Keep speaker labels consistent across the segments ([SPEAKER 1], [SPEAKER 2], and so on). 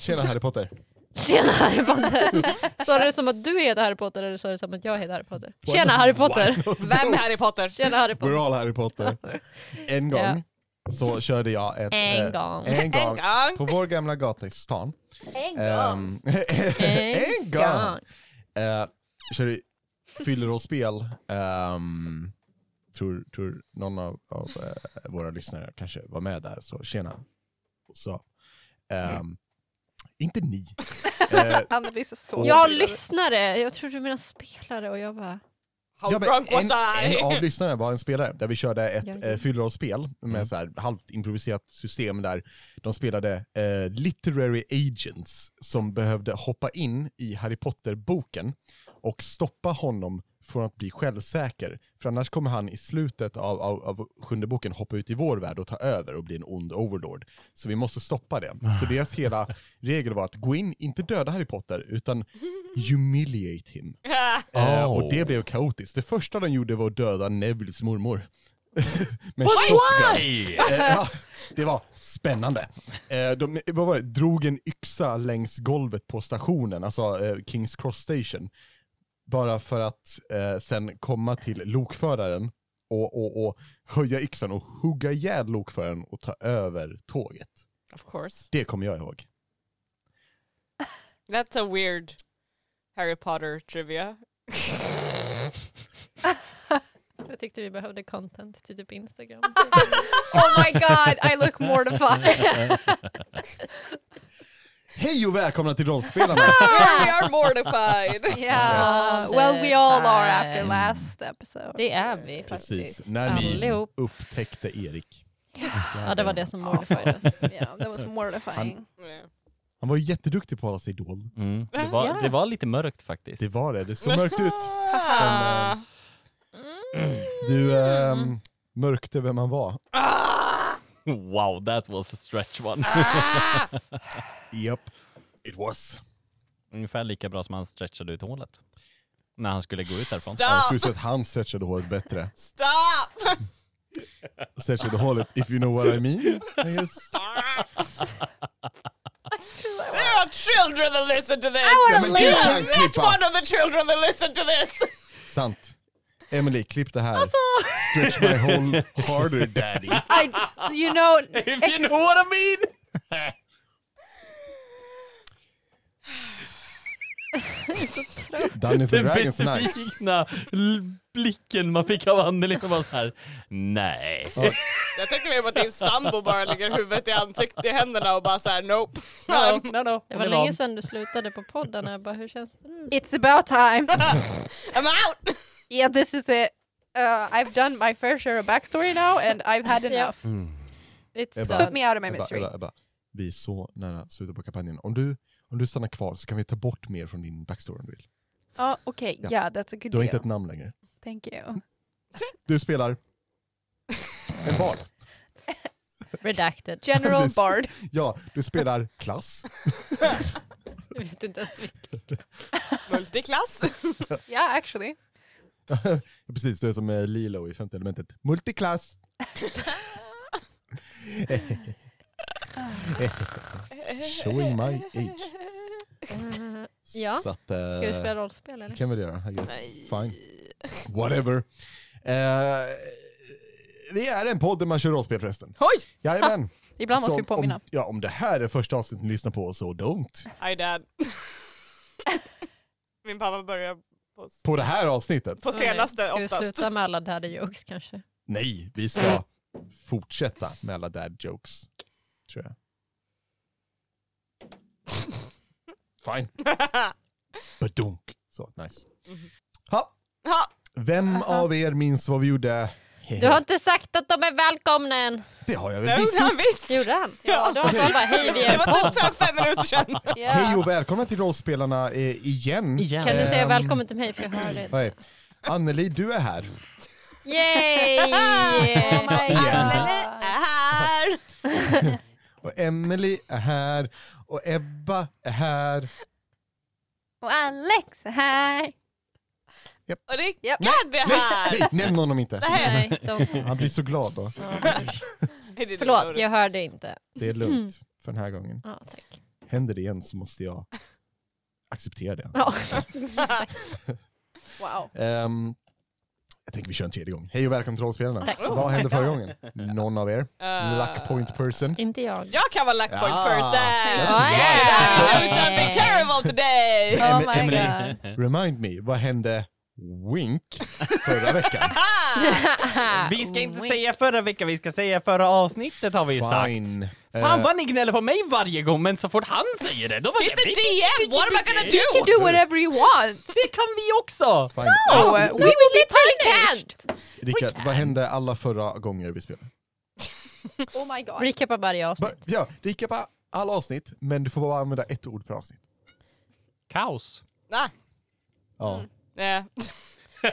[SPEAKER 1] Tjena Harry Potter.
[SPEAKER 2] Tjena Harry Potter! Sa du det som att du heter Harry Potter eller sa du det som att jag heter Harry Potter? Tjena Harry Potter!
[SPEAKER 3] Vem är Harry Potter?
[SPEAKER 2] Tjena Harry Potter!
[SPEAKER 1] We're all Harry Potter. En gång
[SPEAKER 2] Ja.
[SPEAKER 1] så körde jag ett...
[SPEAKER 2] En
[SPEAKER 1] eh,
[SPEAKER 2] gång.
[SPEAKER 1] En
[SPEAKER 3] En
[SPEAKER 1] gång. På
[SPEAKER 3] gång!
[SPEAKER 1] vår gamla gatistan.
[SPEAKER 2] En
[SPEAKER 1] Ehm, en gång. Eh, körde fyllerollspel. Um, tror, tror någon av, av eh, våra lyssnare kanske var med där, så tjena. Så, ehm, Inte ni. Eh,
[SPEAKER 4] Annelies är så
[SPEAKER 2] Jag
[SPEAKER 4] förvirrad.
[SPEAKER 2] lyssnare, jag tror du menar spelare och jag bara...
[SPEAKER 3] How
[SPEAKER 1] Ja, men
[SPEAKER 3] drunk was
[SPEAKER 1] en,
[SPEAKER 3] I?
[SPEAKER 1] en av lyssnarna var en spelare där vi körde ett
[SPEAKER 2] Ja, ja.
[SPEAKER 1] eh, fyllerollspel med
[SPEAKER 3] Mm.
[SPEAKER 1] så här, halvt improviserat system där de spelade eh, literary agents som behövde hoppa in i Harry Potter-boken och stoppa honom från att bli självsäker. För annars kommer han i slutet av, av, av sjunde boken hoppa ut i vår värld och ta över och bli en ond overlord. Så vi måste stoppa det. Så deras hela regel var att gå in, inte döda Harry Potter, utan humiliate him. Eh,
[SPEAKER 5] Oh.
[SPEAKER 1] och det blev kaotiskt. Det första de gjorde var att döda Nevilles mormor. Med
[SPEAKER 2] Why?
[SPEAKER 1] shotgun. Eh, ja, det var spännande. Eh, de vad var det, drog en yxa längs golvet på stationen, alltså eh, Kings Cross Station. Bara för att eh, sen komma till lokföraren och, och, och höja yxan och hugga ihjäl lokföraren och ta över tåget.
[SPEAKER 3] Of course.
[SPEAKER 1] Det kommer jag ihåg.
[SPEAKER 3] That's a weird Harry Potter trivia.
[SPEAKER 2] Jag tyckte vi behövde content till typ Instagram.
[SPEAKER 4] Oh my god, I look mortified.
[SPEAKER 1] Hej och välkomna till Rollspelarna!
[SPEAKER 3] We are mortified!
[SPEAKER 4] yeah.
[SPEAKER 2] Yes.
[SPEAKER 4] Well, we all are after
[SPEAKER 2] Mm.
[SPEAKER 4] last episode.
[SPEAKER 2] Det är vi
[SPEAKER 1] Precis,
[SPEAKER 2] faktiskt.
[SPEAKER 1] när ni-
[SPEAKER 2] Allihop.
[SPEAKER 1] Upptäckte Erik.
[SPEAKER 2] Ja, det var det som
[SPEAKER 4] Ja,
[SPEAKER 2] mortified us.
[SPEAKER 4] yeah, that was mortifying.
[SPEAKER 3] Yeah.
[SPEAKER 1] Han var ju jätteduktig på att hålla sig dold.
[SPEAKER 5] Mm. Det, var,
[SPEAKER 2] Ja.
[SPEAKER 5] det var lite mörkt faktiskt.
[SPEAKER 1] Det var det, det såg mörkt ut.
[SPEAKER 3] Ah.
[SPEAKER 2] Mm.
[SPEAKER 1] Du ehm, mörkte vem han var.
[SPEAKER 3] Ah.
[SPEAKER 5] Wow, that was a stretch one.
[SPEAKER 3] Ah.
[SPEAKER 1] Yep. It was.
[SPEAKER 5] Ungefär lika bra som han stretchade ut hålet. När han skulle gå ut därifrån.
[SPEAKER 1] Jag skulle
[SPEAKER 3] Stop!
[SPEAKER 1] säga att han stretchade håret bättre.
[SPEAKER 3] Stop!
[SPEAKER 1] Stretchade håret, if you know what I mean. I guess.
[SPEAKER 3] There are children that listen to this!
[SPEAKER 1] Ja, men du kan
[SPEAKER 3] Which
[SPEAKER 1] klippa.
[SPEAKER 3] one of the children that listen to this?
[SPEAKER 1] Sant. Emily, klipp det här. Stretch my whole harder daddy.
[SPEAKER 4] I, you know,
[SPEAKER 5] If
[SPEAKER 4] ex-
[SPEAKER 5] what I mean!
[SPEAKER 1] Danny for
[SPEAKER 5] Den
[SPEAKER 1] Dragons är nice.
[SPEAKER 5] besvikna l- blicken man fick av Anneli och var så här. nej.
[SPEAKER 3] Jag tänkte mer på att din sambo bara lägger huvudet i ansiktet i händerna och bara såhär nope.
[SPEAKER 5] No, no, no.
[SPEAKER 2] Det var länge sedan du slutade på podden. Jag bara, hur känns det nu?
[SPEAKER 4] it's about time.
[SPEAKER 3] I'm out!
[SPEAKER 4] Yeah, this is it. Uh, I've done my fair share of backstory now, and I've had enough.
[SPEAKER 2] It's
[SPEAKER 1] Ebba.
[SPEAKER 4] Put
[SPEAKER 2] done.
[SPEAKER 4] me out of my
[SPEAKER 1] Ebba,
[SPEAKER 4] mystery.
[SPEAKER 1] Ebba, Ebba. Vi är så nära slutet på kampanjen. Om du, om du stannar kvar så kan vi ta bort mer från din backstory om du vill.
[SPEAKER 4] Oh, okay.
[SPEAKER 1] Ja.
[SPEAKER 4] Yeah, that's a good
[SPEAKER 1] Du har
[SPEAKER 4] deal.
[SPEAKER 1] inte ett namn längre.
[SPEAKER 4] Thank you.
[SPEAKER 1] Du spelar en bard.
[SPEAKER 2] Redacted.
[SPEAKER 4] General
[SPEAKER 1] Precis.
[SPEAKER 4] Bard.
[SPEAKER 1] Ja, du spelar klass.
[SPEAKER 2] Jag vet inte ens vilken.
[SPEAKER 3] Multiklass!
[SPEAKER 4] Yeah, actually.
[SPEAKER 1] Precis, du är som eh, Lilo i femte elementet. Multiklass! Showing my age.
[SPEAKER 2] Ja,
[SPEAKER 1] Så att, eh,
[SPEAKER 2] Ska vi spela rollspel eller?
[SPEAKER 1] kan vi göra, I guess. Fine. Whatever. Eh, vi är en podd där man kör rollspel förresten.
[SPEAKER 3] Oj!
[SPEAKER 1] Jajamän.
[SPEAKER 4] Ibland måste
[SPEAKER 1] Så
[SPEAKER 4] vi påminna.
[SPEAKER 1] Om, ja, om det här är första avsnittet ni lyssnar på, så don't.
[SPEAKER 3] I dad. Min pappa börjar på,
[SPEAKER 1] På det här avsnittet?
[SPEAKER 3] på senaste
[SPEAKER 2] Ska vi
[SPEAKER 3] oftast.
[SPEAKER 2] sluta med alla daddy jokes kanske?
[SPEAKER 1] Nej, vi ska fortsätta med alla dad jokes. Tror jag. Fine. Badunk. Så, nice.
[SPEAKER 2] Mhm.
[SPEAKER 1] Ha,
[SPEAKER 3] ha,
[SPEAKER 1] vem av er minns vad vi gjorde?
[SPEAKER 2] Du har inte sagt att de är välkomna än!
[SPEAKER 1] Det har jag
[SPEAKER 3] det
[SPEAKER 1] väl visst
[SPEAKER 3] gjorde
[SPEAKER 1] gjort.
[SPEAKER 3] han visst!
[SPEAKER 2] Gjorde han?
[SPEAKER 3] Ja.
[SPEAKER 2] Ja, då sa han bara hej vi är
[SPEAKER 3] Det
[SPEAKER 2] en
[SPEAKER 3] var
[SPEAKER 2] podd.
[SPEAKER 3] typ fem, fem minuter sedan.
[SPEAKER 4] Yeah.
[SPEAKER 1] Hej och välkomna till Rollspelarna eh, igen.
[SPEAKER 5] Igen.
[SPEAKER 2] Kan du säga
[SPEAKER 1] Ehm.
[SPEAKER 2] välkommen till mig för jag hörde inte.
[SPEAKER 1] Hej. Anneli, du är här.
[SPEAKER 2] Yay!
[SPEAKER 4] Oh my
[SPEAKER 3] Anneli
[SPEAKER 4] god.
[SPEAKER 3] är här!
[SPEAKER 1] Och Emily är här. Och Ebba är här.
[SPEAKER 4] Och Alex är här.
[SPEAKER 3] Och
[SPEAKER 4] Japp.
[SPEAKER 3] Rickard är
[SPEAKER 1] Nej,
[SPEAKER 3] här!
[SPEAKER 1] nämn honom inte.
[SPEAKER 3] Nej.
[SPEAKER 2] Nej, de...
[SPEAKER 1] Han blir så glad då.
[SPEAKER 2] Ja, usch. Förlåt, jag hörde inte.
[SPEAKER 1] Det är lugnt för den här gången.
[SPEAKER 2] Ja, tack.
[SPEAKER 1] Händer det igen så måste jag acceptera det.
[SPEAKER 2] Ja.
[SPEAKER 4] Wow.
[SPEAKER 1] Ehm, jag tänker vi kör en tredje gång. Hej och välkomna till Rollspelarna.
[SPEAKER 2] Tack.
[SPEAKER 1] Vad hände förra gången? Någon av er?
[SPEAKER 3] Eh,
[SPEAKER 1] Luck point person?
[SPEAKER 2] Inte jag.
[SPEAKER 3] Jag kan vara luck point
[SPEAKER 1] Ja.
[SPEAKER 3] person!
[SPEAKER 1] That's
[SPEAKER 3] I'm
[SPEAKER 1] right.
[SPEAKER 3] doing something terrible today!
[SPEAKER 4] Oh
[SPEAKER 1] Em-
[SPEAKER 4] my
[SPEAKER 1] Emily.
[SPEAKER 4] god.
[SPEAKER 1] Remind me, vad hände Wink förra veckan?
[SPEAKER 3] Ah!
[SPEAKER 5] Vi ska inte säga förra veckan, vi ska säga förra avsnittet har vi ju sagt.
[SPEAKER 1] Fine.
[SPEAKER 5] Fan
[SPEAKER 1] Eh,
[SPEAKER 5] vad ni gnäller på mig varje gång, men så fort han säger det, då var
[SPEAKER 3] He's
[SPEAKER 5] det...
[SPEAKER 3] the DM! What am I gonna
[SPEAKER 4] You can
[SPEAKER 3] do?
[SPEAKER 4] do whatever you want.
[SPEAKER 5] Det kan vi också!
[SPEAKER 1] fine. Alltså,
[SPEAKER 4] No, uh, we will be punished.
[SPEAKER 1] Rickard, vad hände alla förra gånger vi spelade?
[SPEAKER 4] Oh my god.
[SPEAKER 2] Recapa varje
[SPEAKER 1] Va-
[SPEAKER 2] avsnitt.
[SPEAKER 1] Ja, recapa alla avsnitt, men du får bara använda ett ord per avsnitt.
[SPEAKER 5] Kaos.
[SPEAKER 3] Ah,
[SPEAKER 1] Ja.
[SPEAKER 3] yeah.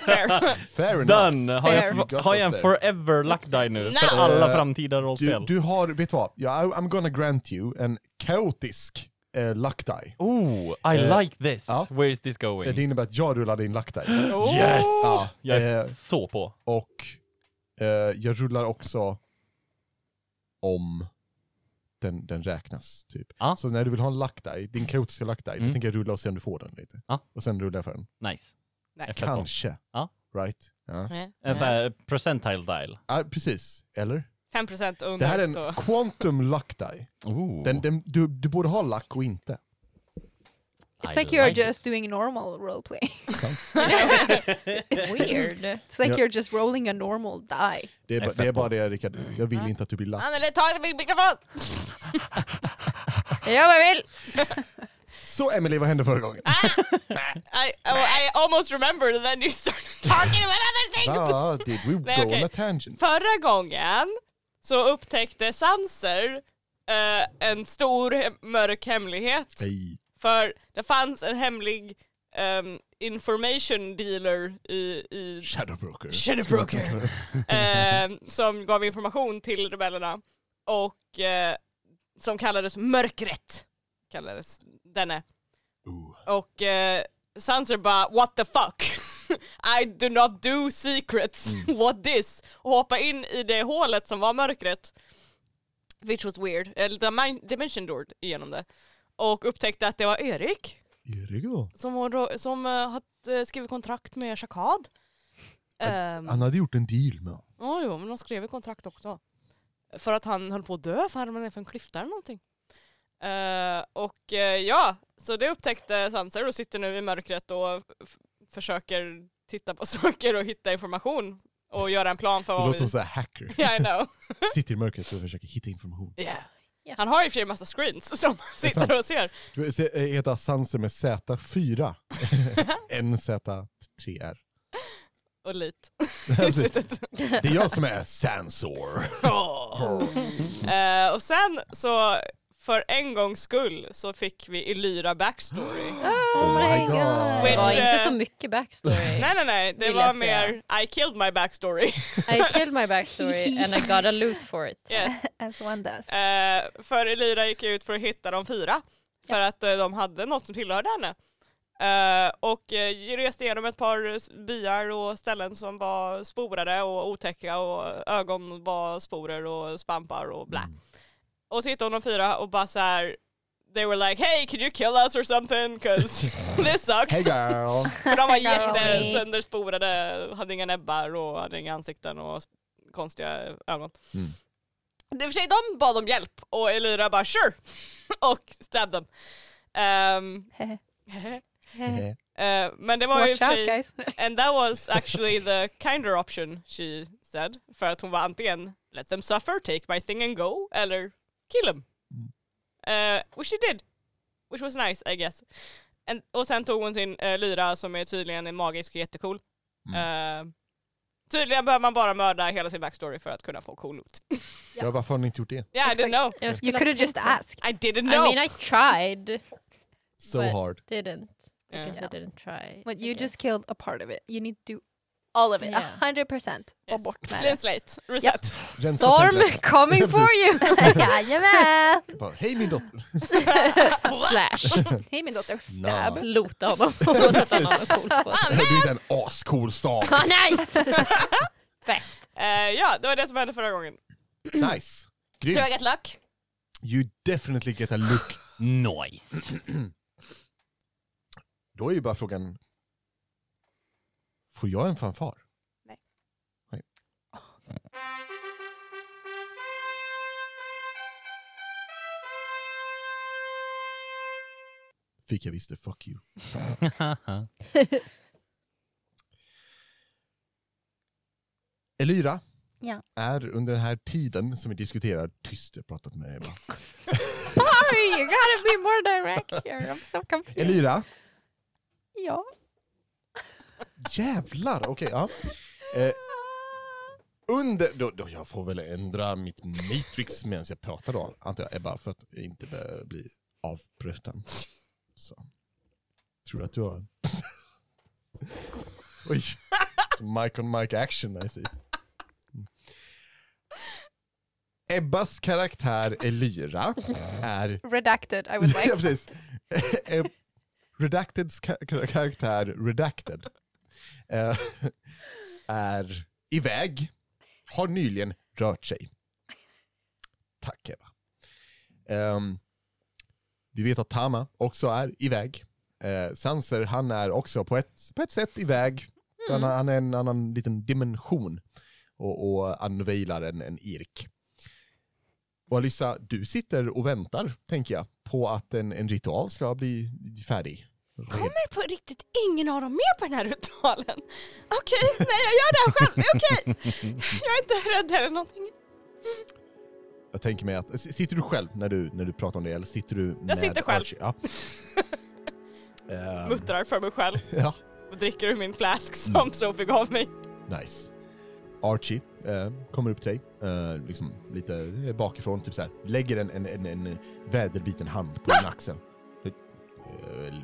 [SPEAKER 3] Fair.
[SPEAKER 1] Fair enough.
[SPEAKER 5] Done! Har jag,
[SPEAKER 1] Fair.
[SPEAKER 5] har jag en forever luck die nu? För alla framtida
[SPEAKER 1] Du,
[SPEAKER 5] rollspel.
[SPEAKER 1] du har, vet du vad? Ja, I, I'm gonna grant you en kaotisk uh, luck die.
[SPEAKER 5] Oh, I
[SPEAKER 1] Eh,
[SPEAKER 5] like this!
[SPEAKER 1] ja.
[SPEAKER 5] Where is this
[SPEAKER 1] Eh, Det
[SPEAKER 5] going?
[SPEAKER 1] innebär att jag rullade in luck die.
[SPEAKER 5] Yes!
[SPEAKER 1] Ja,
[SPEAKER 5] Jag är
[SPEAKER 1] eh,
[SPEAKER 5] så på.
[SPEAKER 1] Och eh, jag rullar också om den, den räknas, typ.
[SPEAKER 5] Ja.
[SPEAKER 1] Så när du vill ha en luck die, din kaotiska luck die,
[SPEAKER 5] Mm.
[SPEAKER 1] då tänker jag rulla och se om du får den lite.
[SPEAKER 5] Ja.
[SPEAKER 1] Och sen rullar jag för den.
[SPEAKER 5] Nice.
[SPEAKER 3] Nej.
[SPEAKER 5] Jag fattar.
[SPEAKER 1] Kanske.
[SPEAKER 5] Ja.
[SPEAKER 1] Right? Ja.
[SPEAKER 5] En sån här percentile dial.
[SPEAKER 1] Ah, precis. Eller?
[SPEAKER 3] 5% under
[SPEAKER 1] Det här är en
[SPEAKER 3] så.
[SPEAKER 1] quantum luck die.
[SPEAKER 5] Ooh,
[SPEAKER 1] Den, den, du, du borde ha luck och inte.
[SPEAKER 5] I
[SPEAKER 4] It's like you're
[SPEAKER 5] like it.
[SPEAKER 4] just doing normal roleplay.
[SPEAKER 1] Sant.
[SPEAKER 4] It's weird. It's like
[SPEAKER 1] Ja.
[SPEAKER 4] you're just rolling a normal die.
[SPEAKER 1] Det är, ba- det är bara det Rickard, jag vill inte att du blir lack.
[SPEAKER 3] Anneli, Ah, ta min mikrofon!
[SPEAKER 2] Jag gör vad jag vill!
[SPEAKER 1] Så Emily, vad hände förra gången?
[SPEAKER 3] Ah. I, oh, I almost remembered and then you started talking about other things!
[SPEAKER 1] Ah, did we
[SPEAKER 3] Nej,
[SPEAKER 1] go
[SPEAKER 3] okej.
[SPEAKER 1] on a tangent?
[SPEAKER 3] Förra gången så upptäckte Sanser eh, en stor he- mörk hemlighet.
[SPEAKER 1] Nej.
[SPEAKER 3] För det fanns en hemlig ehm, information dealer i, i
[SPEAKER 1] Shadowbroker.
[SPEAKER 3] Shadowbroker ehm, som gav information till rebellerna och eh, som kallades Mörkret. Kallades denne.
[SPEAKER 1] Ooh.
[SPEAKER 3] Och eh, Sanser bara what the fuck? I do not do secrets, what this? Och hoppa in i det hålet som var mörkret. Which was weird. Eller dimen- dimension door igenom det. Och upptäckte att det var Erik
[SPEAKER 1] Ergo.
[SPEAKER 3] som, hon, då- som eh, hade eh, skrivit kontrakt med Shakad. Ehm,
[SPEAKER 1] Mm. Han hade gjort en deal med honom.
[SPEAKER 3] Ja, jo, men de skrev ju kontrakt också. För att han höll på att dö, för han ramlade ner för en klyfta eller någonting. Eh, och eh, ja, så det upptäckte Sanser och sitter nu i mörkret och f- försöker titta på saker och hitta information och göra en plan för
[SPEAKER 1] Det
[SPEAKER 3] vad
[SPEAKER 1] låter som
[SPEAKER 3] vi...
[SPEAKER 1] såhär hacker.
[SPEAKER 3] Yeah, I know.
[SPEAKER 1] Sitter i mörkret och försöker hitta information.
[SPEAKER 3] Yeah.
[SPEAKER 2] Ja.
[SPEAKER 3] Han har i och för sig en massa screens som han
[SPEAKER 1] Det är sant.
[SPEAKER 3] sitter och ser.
[SPEAKER 1] Du vet, se- eh, heter Sanser med Z4. NZ3R.
[SPEAKER 3] Och lit. I
[SPEAKER 1] Alltså,
[SPEAKER 3] slutet.
[SPEAKER 1] det är jag som är Sansor.
[SPEAKER 3] Eh, och sen så för en gångs skull så fick vi Elyra backstory.
[SPEAKER 1] Oh my god.
[SPEAKER 2] Det var
[SPEAKER 1] Mm.
[SPEAKER 3] Which,
[SPEAKER 2] Ah. inte
[SPEAKER 3] eh,
[SPEAKER 2] så mycket backstory.
[SPEAKER 3] Nej nej nej, det
[SPEAKER 2] Vill
[SPEAKER 3] var
[SPEAKER 2] jag säga.
[SPEAKER 3] mer I killed my backstory.
[SPEAKER 2] I killed my backstory and I got a loot for it.
[SPEAKER 3] yes.
[SPEAKER 4] As one does.
[SPEAKER 3] Eh, för Elira gick ut för att hitta de fyra. För att eh, de hade något som tillhörde henne. Eh, och eh, reste igenom ett par eh, byar och ställen som var sporade och otäcka och ögon var sporer och svampar och
[SPEAKER 1] Mm.
[SPEAKER 3] blä. Och så hittade hon de fyra och bara så här. They were like hey could you kill us or something? Cause this sucks.
[SPEAKER 1] Hey girl.
[SPEAKER 3] För de var
[SPEAKER 2] Hej.
[SPEAKER 3] jättesöndersporade, hade inga näbbar och hade inga ansikten och s- konstiga ögon.
[SPEAKER 1] Mm.
[SPEAKER 3] Det för sig, de bad om hjälp och Elira bara sure! och stabbed dem. Ehm,
[SPEAKER 1] Eh,
[SPEAKER 3] eh, men det var ju i och
[SPEAKER 4] Watch
[SPEAKER 3] för
[SPEAKER 4] out
[SPEAKER 3] sig,
[SPEAKER 4] guys.
[SPEAKER 3] and that was actually the kinder option she said. För att hon var antingen let them suffer, take my thing and go, eller kill them. Eh, which she did. Which was nice I guess. And, och sen tog hon sin eh, lyra som är tydligen är magisk och jättecool. Eh, tydligen behöver man bara mörda hela sin backstory för att kunna få cool loot.
[SPEAKER 1] Ja, varför har ni inte gjort det?
[SPEAKER 3] Yeah, I didn't
[SPEAKER 4] Exakt.
[SPEAKER 3] know.
[SPEAKER 2] Jag skulle
[SPEAKER 4] You
[SPEAKER 2] ha
[SPEAKER 4] could have
[SPEAKER 2] tänkt
[SPEAKER 4] just
[SPEAKER 2] på-
[SPEAKER 4] asked.
[SPEAKER 3] I didn't
[SPEAKER 2] I
[SPEAKER 3] know.
[SPEAKER 2] mean I tried.
[SPEAKER 1] So
[SPEAKER 2] But-
[SPEAKER 1] hard.
[SPEAKER 2] Didn't. Because
[SPEAKER 4] Yeah.
[SPEAKER 2] I didn't try.
[SPEAKER 4] But
[SPEAKER 2] I
[SPEAKER 4] you
[SPEAKER 2] guess.
[SPEAKER 4] just killed a part of it. You need to do all of it. A
[SPEAKER 2] Yeah.
[SPEAKER 4] hundred percent. Och
[SPEAKER 3] Yes.
[SPEAKER 4] bort med
[SPEAKER 3] Clean
[SPEAKER 4] det.
[SPEAKER 3] slate. Reset.
[SPEAKER 1] Rensa
[SPEAKER 2] Storm
[SPEAKER 1] templet.
[SPEAKER 2] coming for you!
[SPEAKER 4] Jajamän!
[SPEAKER 1] Bara, Hej min dotter.
[SPEAKER 2] Slash.
[SPEAKER 4] Hej min dotter, stab.
[SPEAKER 1] Nå.
[SPEAKER 2] Lota honom och sätta honom coolt på.
[SPEAKER 1] Du är en ascool stav.
[SPEAKER 2] Ah, nice! Fett.
[SPEAKER 3] Eh, ja, det var det som hände förra gången.
[SPEAKER 1] Nice. Grymt.
[SPEAKER 3] get luck?
[SPEAKER 1] You definitely get a look
[SPEAKER 5] Nice.
[SPEAKER 1] Då är ju bara frågan, får jag en fanfar? Fick jag visst det, fuck you. Elyra
[SPEAKER 2] Ja.
[SPEAKER 1] är under den här tiden som vi diskuterar, tyst jag har pratat med dig bara.
[SPEAKER 4] Sorry, you gotta be more direct here. I'm so confused.
[SPEAKER 1] Elyra,
[SPEAKER 4] Ja.
[SPEAKER 1] jävlar, okej ja. Eh, under, då, då jag får väl ändra mitt matrix medan jag pratar då, antar jag, Ebba, för att inte be- bli avbruten. Så. Tror du att du har... Oj, som Mike on Mike action I see. Mm. Ebbas karaktär Elyra är...
[SPEAKER 4] Redacted, I would
[SPEAKER 1] ja,
[SPEAKER 4] like.
[SPEAKER 1] precis. Eh, Redacteds ka- ka- karaktär Redacted eh, är iväg, har nyligen rört sig. Tack Eva. Ehm, vi vet att Tama också är iväg. Eh, Sanser, han är också på ett, på ett sätt iväg. För
[SPEAKER 4] Mm.
[SPEAKER 1] han, han är en annan liten dimension och, och unveilar en, en irk. Och Alissa, du sitter och väntar, tänker jag, på att en, en ritual ska bli färdig.
[SPEAKER 3] Kommer på riktigt ingen av dem med på den här ritualen? Okej, nej jag gör det här själv, det är okej. Jag är inte rädd eller någonting.
[SPEAKER 1] Jag tänker mig att, s- sitter du själv när du, när du pratar om det, eller sitter du med
[SPEAKER 3] sitter själv.
[SPEAKER 1] Archie? Ja. Ehm,
[SPEAKER 3] Muttrar för mig själv
[SPEAKER 1] ja,
[SPEAKER 3] och dricker ur min flask
[SPEAKER 1] Mm.
[SPEAKER 3] som Sophie gav mig.
[SPEAKER 1] nice. Archie eh, kommer upp till dig, eh, liksom lite bakifrån, typ så här. lägger en, en, en, en väderbiten hand på din axel. Eh,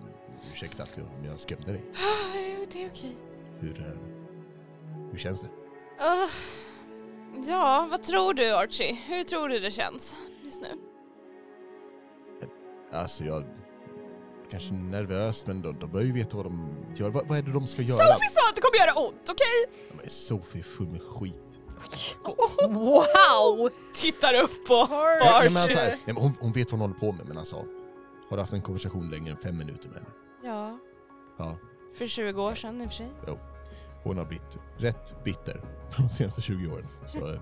[SPEAKER 1] ursäkta att jag- om jag skrämde dig.
[SPEAKER 3] Ah, jo, det är okej.
[SPEAKER 1] Hur, eh, hur känns det?
[SPEAKER 3] Ah, ja, vad tror du Archie? Hur tror du det känns just nu?
[SPEAKER 1] Alltså jag... Kanske nervös, men de, de bör ju veta vad de gör. Vad- vad är det de ska göra?
[SPEAKER 3] Sophie sa att det kommer göra ont, okej?
[SPEAKER 1] Ja, men Sophie är full med skit.
[SPEAKER 4] Wow!
[SPEAKER 3] Tittar upp på, på
[SPEAKER 1] Nej, men alltså,
[SPEAKER 3] Archie.
[SPEAKER 1] här, nej, men hon, hon vet vad hon håller på med, men alltså... Har du haft en konversation längre än fem minuter med henne?
[SPEAKER 3] Ja,
[SPEAKER 1] Ja,
[SPEAKER 3] för 20 år sedan i och för sig.
[SPEAKER 1] hon har blivit rätt bitter de senaste 20 åren. Så, eh,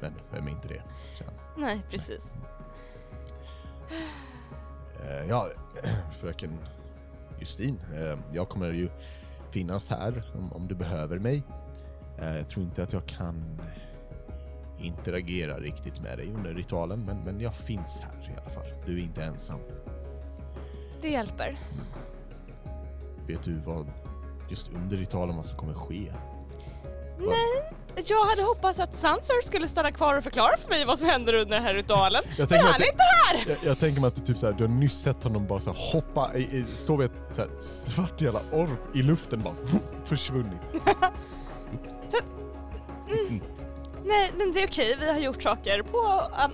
[SPEAKER 1] men vem är inte det? Så,
[SPEAKER 3] Nej, precis.
[SPEAKER 1] eh, ja, fröken Justin, eh, jag kommer ju finnas här om, om du behöver mig. Eh, jag tror inte att jag kan interagera riktigt med dig under ritualen, men, men jag finns här i alla fall. Du är inte ensam.
[SPEAKER 3] Det hjälper.
[SPEAKER 1] Vet du vad, just under ritualen, vad som kommer ske?
[SPEAKER 3] Nej, jag hade hoppats att Sansar skulle stanna kvar och förklara för mig vad som händer under den här ritualen.
[SPEAKER 1] Jag
[SPEAKER 3] Men
[SPEAKER 1] tänker
[SPEAKER 3] han
[SPEAKER 1] att-
[SPEAKER 3] är inte här!
[SPEAKER 1] Jag, jag tänker mig att du, typ så här, du har nyss sett honom bara så här, hoppa, i, i, stå vid ett så här, svart jävla orb i luften bara försvunnit.
[SPEAKER 3] Nej, men det är okej. Vi har gjort saker på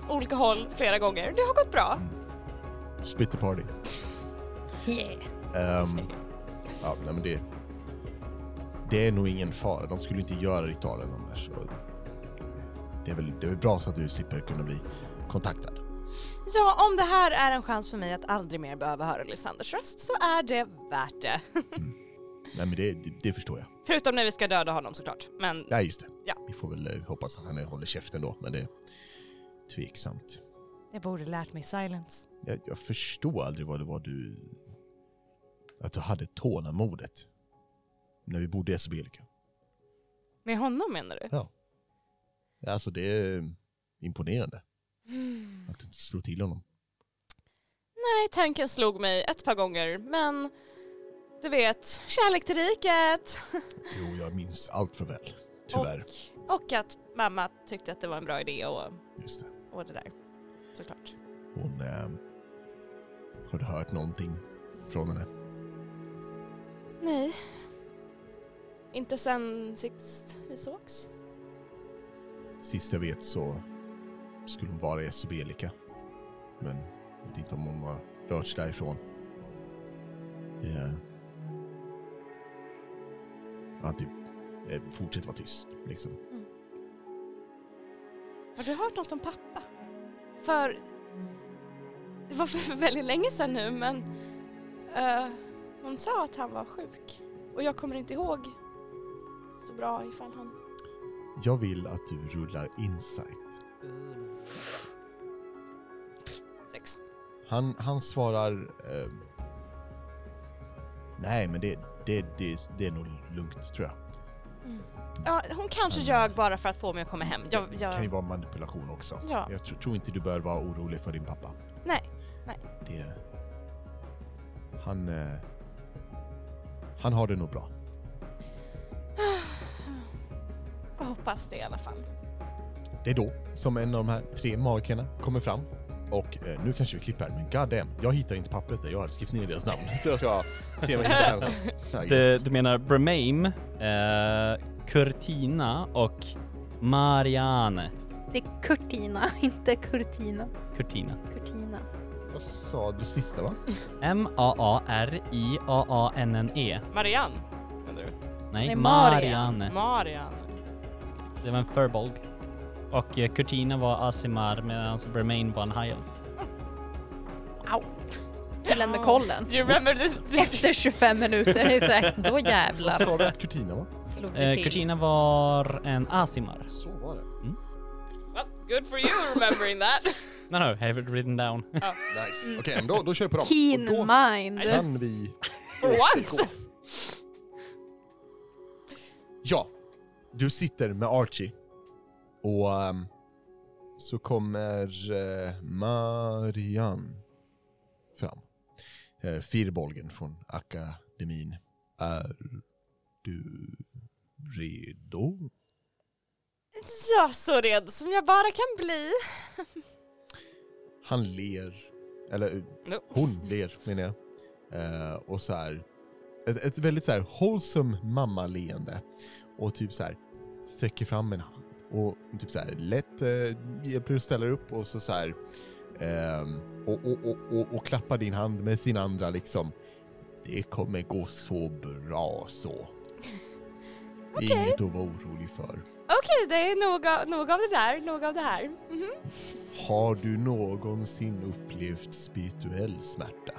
[SPEAKER 3] um, olika håll flera gånger. Det har gått bra.
[SPEAKER 1] Spit the party.
[SPEAKER 2] Yeah.
[SPEAKER 1] Ehm, ja, nej men det... Det är nog ingen fara. De skulle inte göra ritualen annars. Och det, är väl, det är väl bra så att du slipper kunna bli kontaktad.
[SPEAKER 3] Ja, om det här är en chans för mig att aldrig mer behöva höra Lysanders röst så är det värt det.
[SPEAKER 1] Nej men det, det, det förstår jag.
[SPEAKER 3] Förutom när vi ska döda honom såklart. Men
[SPEAKER 1] Nej just det.
[SPEAKER 3] Ja.
[SPEAKER 1] Vi får väl eh, hoppas att han håller käften då, men det är tveksamt.
[SPEAKER 3] jag borde lärt mig silence.
[SPEAKER 1] Jag, jag förstod aldrig vad det var du... Att du hade tålamodet. När vi bodde i Sibelika.
[SPEAKER 3] Med honom menar du?
[SPEAKER 1] Ja. Alltså det är imponerande. Att du inte slog till honom.
[SPEAKER 3] Nej, tanken slog mig ett par gånger men du vet, kärlek till riket.
[SPEAKER 1] Jo, jag minns allt för väl. Tyvärr.
[SPEAKER 3] Och att mamma tyckte att det var en bra idé och,
[SPEAKER 1] Just det.
[SPEAKER 3] och det där. Såklart.
[SPEAKER 1] Hon... Eh, har du hört någonting från henne?
[SPEAKER 3] Nej. Inte sen sist vi sågs.
[SPEAKER 1] Sist jag vet så skulle hon vara i Sibelika. Men jag vet inte om hon har rört sig därifrån. Det... är- Ja, typ. eh, Fortsätt vara tyst, liksom.
[SPEAKER 3] Har du hört något om pappa? För Det var för väldigt länge sedan nu men eh, hon sa att han var sjuk och jag kommer inte ihåg så bra ifall han...
[SPEAKER 1] Jag vill att du rullar insight.
[SPEAKER 3] Sex.
[SPEAKER 1] Han, han svarar... Eh, nej, men det, det, det, det är nog lugnt tror jag.
[SPEAKER 3] Ja, hon kanske ljög bara för att få mig att komma hem. Jag,
[SPEAKER 1] Det kan ju
[SPEAKER 3] jag,
[SPEAKER 1] vara manipulation också.
[SPEAKER 3] ja,
[SPEAKER 1] Jag tr- tror inte du bör vara orolig för din pappa.
[SPEAKER 3] nej.
[SPEAKER 1] Det... Han... Eh, han har det nog bra.
[SPEAKER 3] Jag hoppas det i alla fall.
[SPEAKER 1] Det är då som en av de här tre magikerna kommer fram. Och eh, nu kanske vi klipper här, men goddamn, jag hittar inte pappret där jag har skrivit ner deras namn. Så jag ska se om jag hittar det här.
[SPEAKER 5] Du,
[SPEAKER 1] Nice.
[SPEAKER 5] du menar Bremame, eh, Curtina och Marianne.
[SPEAKER 6] Det är Kurtina, inte Kurtina.
[SPEAKER 5] Curtina.
[SPEAKER 6] Kurtina.
[SPEAKER 1] Vad sa du sista va?
[SPEAKER 5] M-A-A-R-I-A-A-N-N-E.
[SPEAKER 3] Marianne.
[SPEAKER 5] E. Nej,
[SPEAKER 6] Nej, Marianne.
[SPEAKER 5] Marianne.
[SPEAKER 3] Marianne.
[SPEAKER 5] Det var en furbolg. Och eh, Curtina var Asimar medan Bremain var en high elf.
[SPEAKER 4] Killen med kollen.
[SPEAKER 3] You remember this?
[SPEAKER 4] Efter 25 minuter, det är säkert.
[SPEAKER 2] Då
[SPEAKER 1] Vad
[SPEAKER 2] jävlar
[SPEAKER 1] sa du att Kurtina var?
[SPEAKER 6] Slog det
[SPEAKER 5] Eh,
[SPEAKER 6] till.
[SPEAKER 5] Curtina var en Asimar.
[SPEAKER 1] Så var det.
[SPEAKER 3] Well, good for you remembering that.
[SPEAKER 5] No, no, have it written down.
[SPEAKER 1] Nice. Okej, men då, då kör vi på dem.
[SPEAKER 4] Keen
[SPEAKER 1] Och då
[SPEAKER 4] mind.
[SPEAKER 1] kan vi...
[SPEAKER 3] For once.
[SPEAKER 1] Ja, du sitter med Archie. Och ehm, så kommer eh, Marianne fram. Eh, Firbolgen från akademin. Är du redo?
[SPEAKER 3] Ja, så rädd som jag bara kan bli.
[SPEAKER 1] Han ler. Eller eh,
[SPEAKER 3] No.
[SPEAKER 1] hon ler menar jag. Eh, och så här. Ett, ett väldigt så här wholesome mammaleende. Och typ så här sträcker fram en hand. Och typ så här lätt eh, hjälper och ställer upp och så så här. ehm, och, och, och, och, och klappar din hand med sin andra liksom. Det kommer gå så bra så. Det är inget att vara orolig för.
[SPEAKER 3] Okej, det är nog av, nog av det där, nog av det här. Mhm.
[SPEAKER 1] Har du någonsin upplevt spirituell smärta?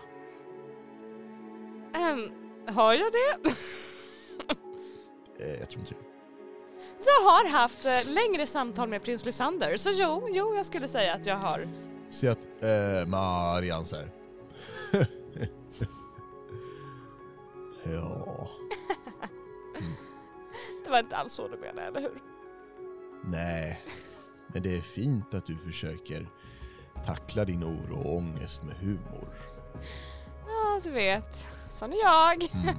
[SPEAKER 3] Ehm, har jag det?
[SPEAKER 1] Eh, jag tror inte det.
[SPEAKER 3] Jag har haft eh, längre samtal med prins Lysander, så jo, jo, jag skulle säga att jag har.
[SPEAKER 1] Se att eh, Marianne så här. ja,
[SPEAKER 3] Det var inte alls så du menade, eller hur?
[SPEAKER 1] nej. Men det är fint att du försöker tackla din oro och ångest med humor.
[SPEAKER 3] Ja, du vet. Sån är jag.
[SPEAKER 1] Mm.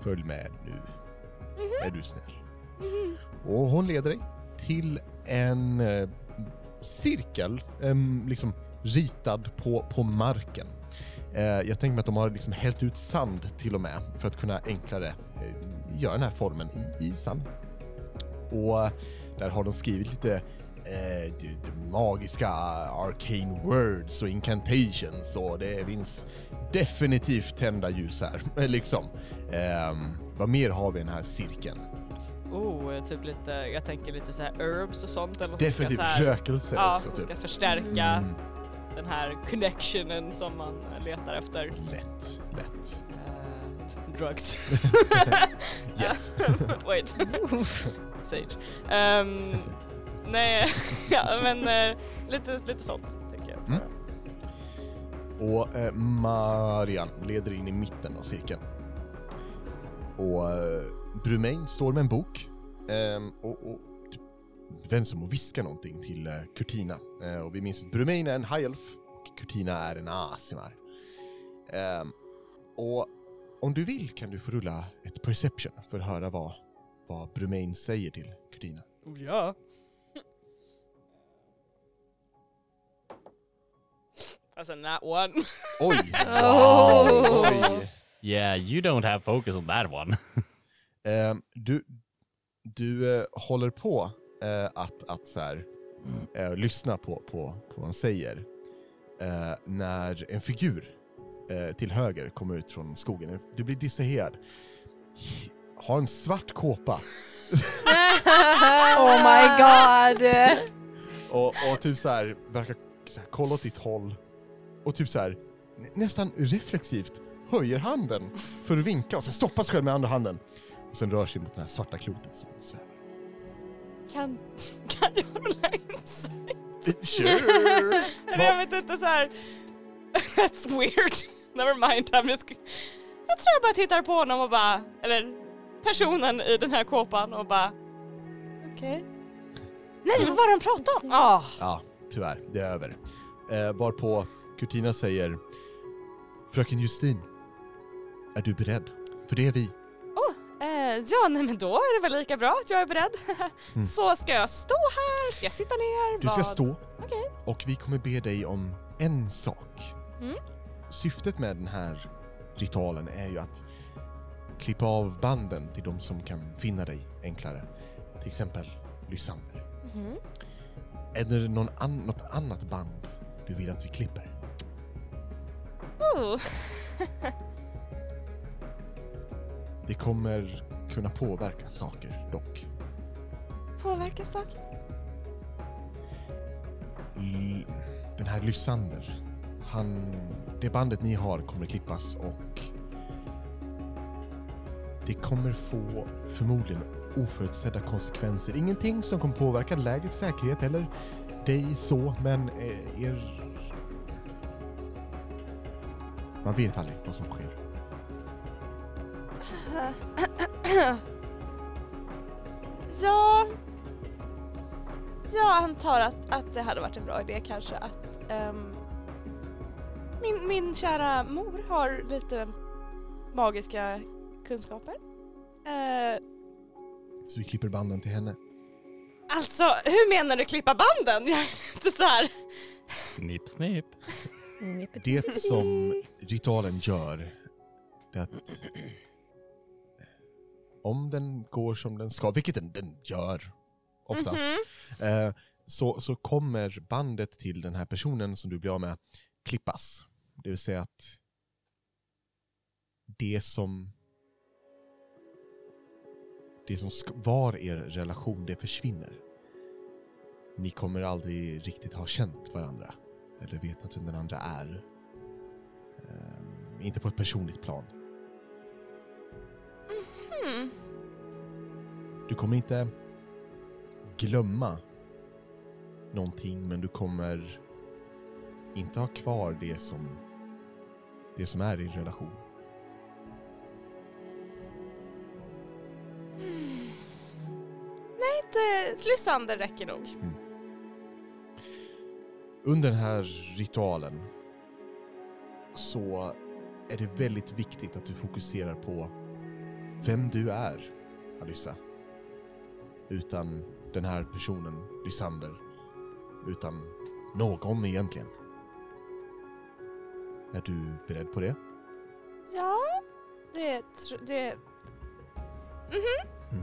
[SPEAKER 1] Följ med nu. Är du snäll.
[SPEAKER 3] Mhm.
[SPEAKER 1] Och hon leder dig till en eh, cirkel, em, liksom ritad på, på marken. Eh, jag tänker mig att de har liksom hällt ut sand till och med för att kunna enklare eh, göra den här formen i, i sand. Och eh, där har de skrivit lite eh, d- d- magiska arcane words och incantations och det finns definitivt tända ljus här. liksom. Ehm, vad mer har vi i den här cirkeln?
[SPEAKER 3] Oh, typ lite, jag tänker lite så här herbs och sånt. Eller något som ska
[SPEAKER 1] Definitivt
[SPEAKER 3] så här-
[SPEAKER 1] rökelse
[SPEAKER 3] Ja,
[SPEAKER 1] också.
[SPEAKER 3] som
[SPEAKER 1] Typ.
[SPEAKER 3] ska förstärka
[SPEAKER 1] Mm,
[SPEAKER 3] den här connectionen som man letar efter.
[SPEAKER 1] Mm. lätt, lätt.
[SPEAKER 3] Eh, drugs.
[SPEAKER 1] Yes.
[SPEAKER 3] Wait. Sage. Ehm, nej, ja, men eh, lite, lite sånt tänker jag.
[SPEAKER 1] Mm. Och eh, Marian leder in i mitten av cirkeln. Och eh, Brumain står med en bok ehm, och, och typ vänder sig om och viskar någonting till eh, Curtina. Eh, och vi minns att Brumain är en high elf och Curtina är en asimar. Ehm, och om du vill kan du få rulla ett perception för att höra vad, vad Brumain säger till Curtina.
[SPEAKER 3] Oh, ja. Alltså not one.
[SPEAKER 1] Oj!
[SPEAKER 2] Oh.
[SPEAKER 1] Oj.
[SPEAKER 5] Yeah, you don't have focus on that one.
[SPEAKER 1] Ehm, du du eh, håller på eh, att, att så här, eh, lyssna på, på, på vad de säger eh, när en figur eh, till höger kommer ut från skogen. Du blir distraherad. Har en svart kåpa
[SPEAKER 4] Oh my god.
[SPEAKER 1] och, och typ så här, verkar så här, kolla åt ditt håll och typ så här nä- nästan reflexivt höjer handen för att vinka och sen stoppar sig själv med andra handen. Och sen rör sig mot den här svarta kloten som svävar.
[SPEAKER 3] Kan, kan jag rulla insight?
[SPEAKER 1] Sure.
[SPEAKER 3] Eller jag vet inte så här. That's weird. Never mind. I'm just... Jag tror jag bara tittar på honom och bara, eller personen i den här kåpan och bara okej. Nej, vad var det de pratade om? Ah.
[SPEAKER 1] Ja, tyvärr. Det är över. Eh, varpå Kurtina säger Fröken Justin, är du beredd? För det är vi.
[SPEAKER 3] Eh, ja, nej men då är det väl lika bra att jag är beredd. Så ska jag stå här? Ska jag sitta ner?
[SPEAKER 1] Mm. Du ska
[SPEAKER 3] Vad?
[SPEAKER 1] stå
[SPEAKER 3] Okej.
[SPEAKER 1] och vi kommer be dig om en sak.
[SPEAKER 3] Mm.
[SPEAKER 1] Syftet med den här ritualen är ju att klippa av banden till de som kan finna dig enklare. Till exempel Lysander.
[SPEAKER 3] Mhm.
[SPEAKER 1] Är det någon an- något annat band du vill att vi klipper?
[SPEAKER 3] Oh.
[SPEAKER 1] Det kommer kunna påverka saker dock.
[SPEAKER 3] Påverkar saker?
[SPEAKER 1] L- den här Lysander, han, det bandet ni har kommer klippas och det kommer få förmodligen oförutsedda konsekvenser. Ingenting som kommer påverka lägets säkerhet eller dig så, men eh, er... Man vet aldrig vad som sker.
[SPEAKER 3] Ja. Jag antar att, att det hade varit en bra idé kanske att ehm, min, min kära mor har lite magiska kunskaper. Eh,
[SPEAKER 1] Så vi klipper banden till henne.
[SPEAKER 3] alltså, hur menar du klippa banden? Jag är inte så här.
[SPEAKER 5] Snipp, snipp.
[SPEAKER 2] Snippet.
[SPEAKER 1] Det som ritualen gör det är att om den går som den ska, vilket den, den gör oftast, eh, så, så kommer bandet till den här personen som du blir av med klippas. Det vill säga att det som det som sk- var er relation, det försvinner. Ni kommer aldrig riktigt ha känt varandra eller vetat vem den andra är. Ehm, inte på ett personligt plan.
[SPEAKER 3] Hmm.
[SPEAKER 1] Du kommer inte glömma någonting, men du kommer inte ha kvar det som, det som är i relation.
[SPEAKER 3] Nej, inte Lysander räcker nog.
[SPEAKER 1] Under den här ritualen så är det väldigt viktigt att du fokuserar på vem du är, Alyssa. Utan den här personen, Lysander. Utan någon egentligen. Är du beredd på det?
[SPEAKER 3] Ja, det... tr- det Mhm,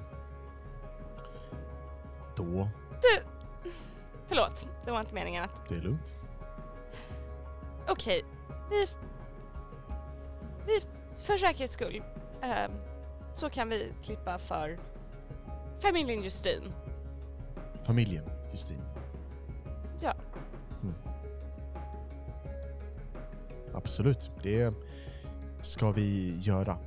[SPEAKER 1] Då,
[SPEAKER 3] förlåt, det var inte meningen att...
[SPEAKER 1] det är lugnt.
[SPEAKER 3] Okej, vi... f- Vi, f- för säkerhets skull, ehm, så kan vi klippa för familjen Justin.
[SPEAKER 1] Familjen, Justin.
[SPEAKER 3] Ja.
[SPEAKER 1] Mm. Absolut, det ska vi göra.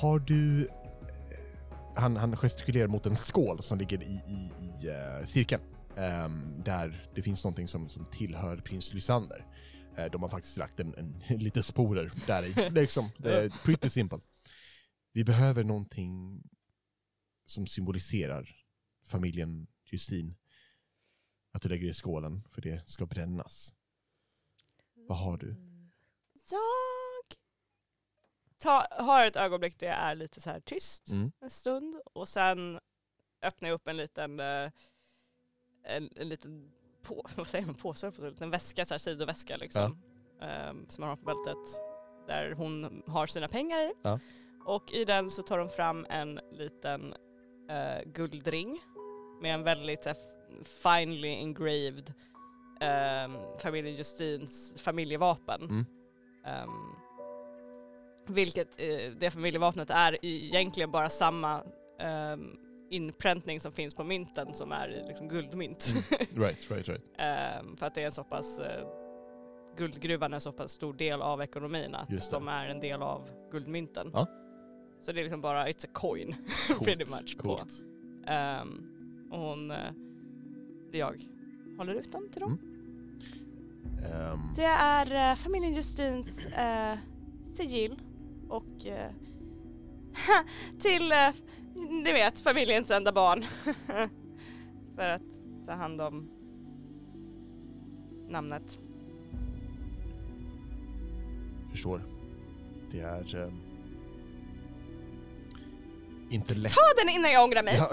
[SPEAKER 1] Har du... eh, Han, han gestikulerar mot en skål som ligger i, i, i eh, cirkeln. Ehm, där det finns någonting som, som tillhör prins Lysander. Eh, de har faktiskt lagt en, en, lite sporer där i. Liksom, det är pretty simple. Vi behöver någonting som symboliserar familjen Justin. Att du lägger det i skålen, för det ska brännas. Vad har du?
[SPEAKER 3] Jag ta, har ett ögonblick där jag är lite så här tyst
[SPEAKER 1] Mm.
[SPEAKER 3] en stund och sen öppnar jag upp en liten eh, en, en liten på, vad säger man, påse, höll jag på, att säga, en liten väska, så här sidoväska liksom. ehm, som man har på bältet. Där hon har sina pengar i.
[SPEAKER 1] Ja.
[SPEAKER 3] Och i den så tar hon fram en liten eh, guldring med en väldigt så här, finely engraved um, familjen Justins familjevapen.
[SPEAKER 1] Mm.
[SPEAKER 3] Ehm, vilket eh, det familjevapnet är egentligen bara samma ehm, inpräntning som finns på mynten
[SPEAKER 1] Mm.
[SPEAKER 3] som är i liksom guldmynt.
[SPEAKER 1] Right, right, right.
[SPEAKER 3] Ehm, för att det är en så pass eh, guldgruvan är så pass stor del av ekonomin att
[SPEAKER 1] Just det.
[SPEAKER 3] de är en del av guldmynten.
[SPEAKER 1] Ja.
[SPEAKER 3] Så det är liksom bara, it's a coin pretty much. På.
[SPEAKER 1] coolt.
[SPEAKER 3] Ehm, och hon, eh, jag, håller ut den till dem.
[SPEAKER 1] Ehm,
[SPEAKER 3] Det är eh, familjen Justins eh, sigill och eh, till, eh, ni vet, familjens enda barn. För att ta hand om namnet.
[SPEAKER 1] förstår. Det är... ehm, inte lätt.
[SPEAKER 3] Ta den innan jag ångrar mig!
[SPEAKER 1] Ja.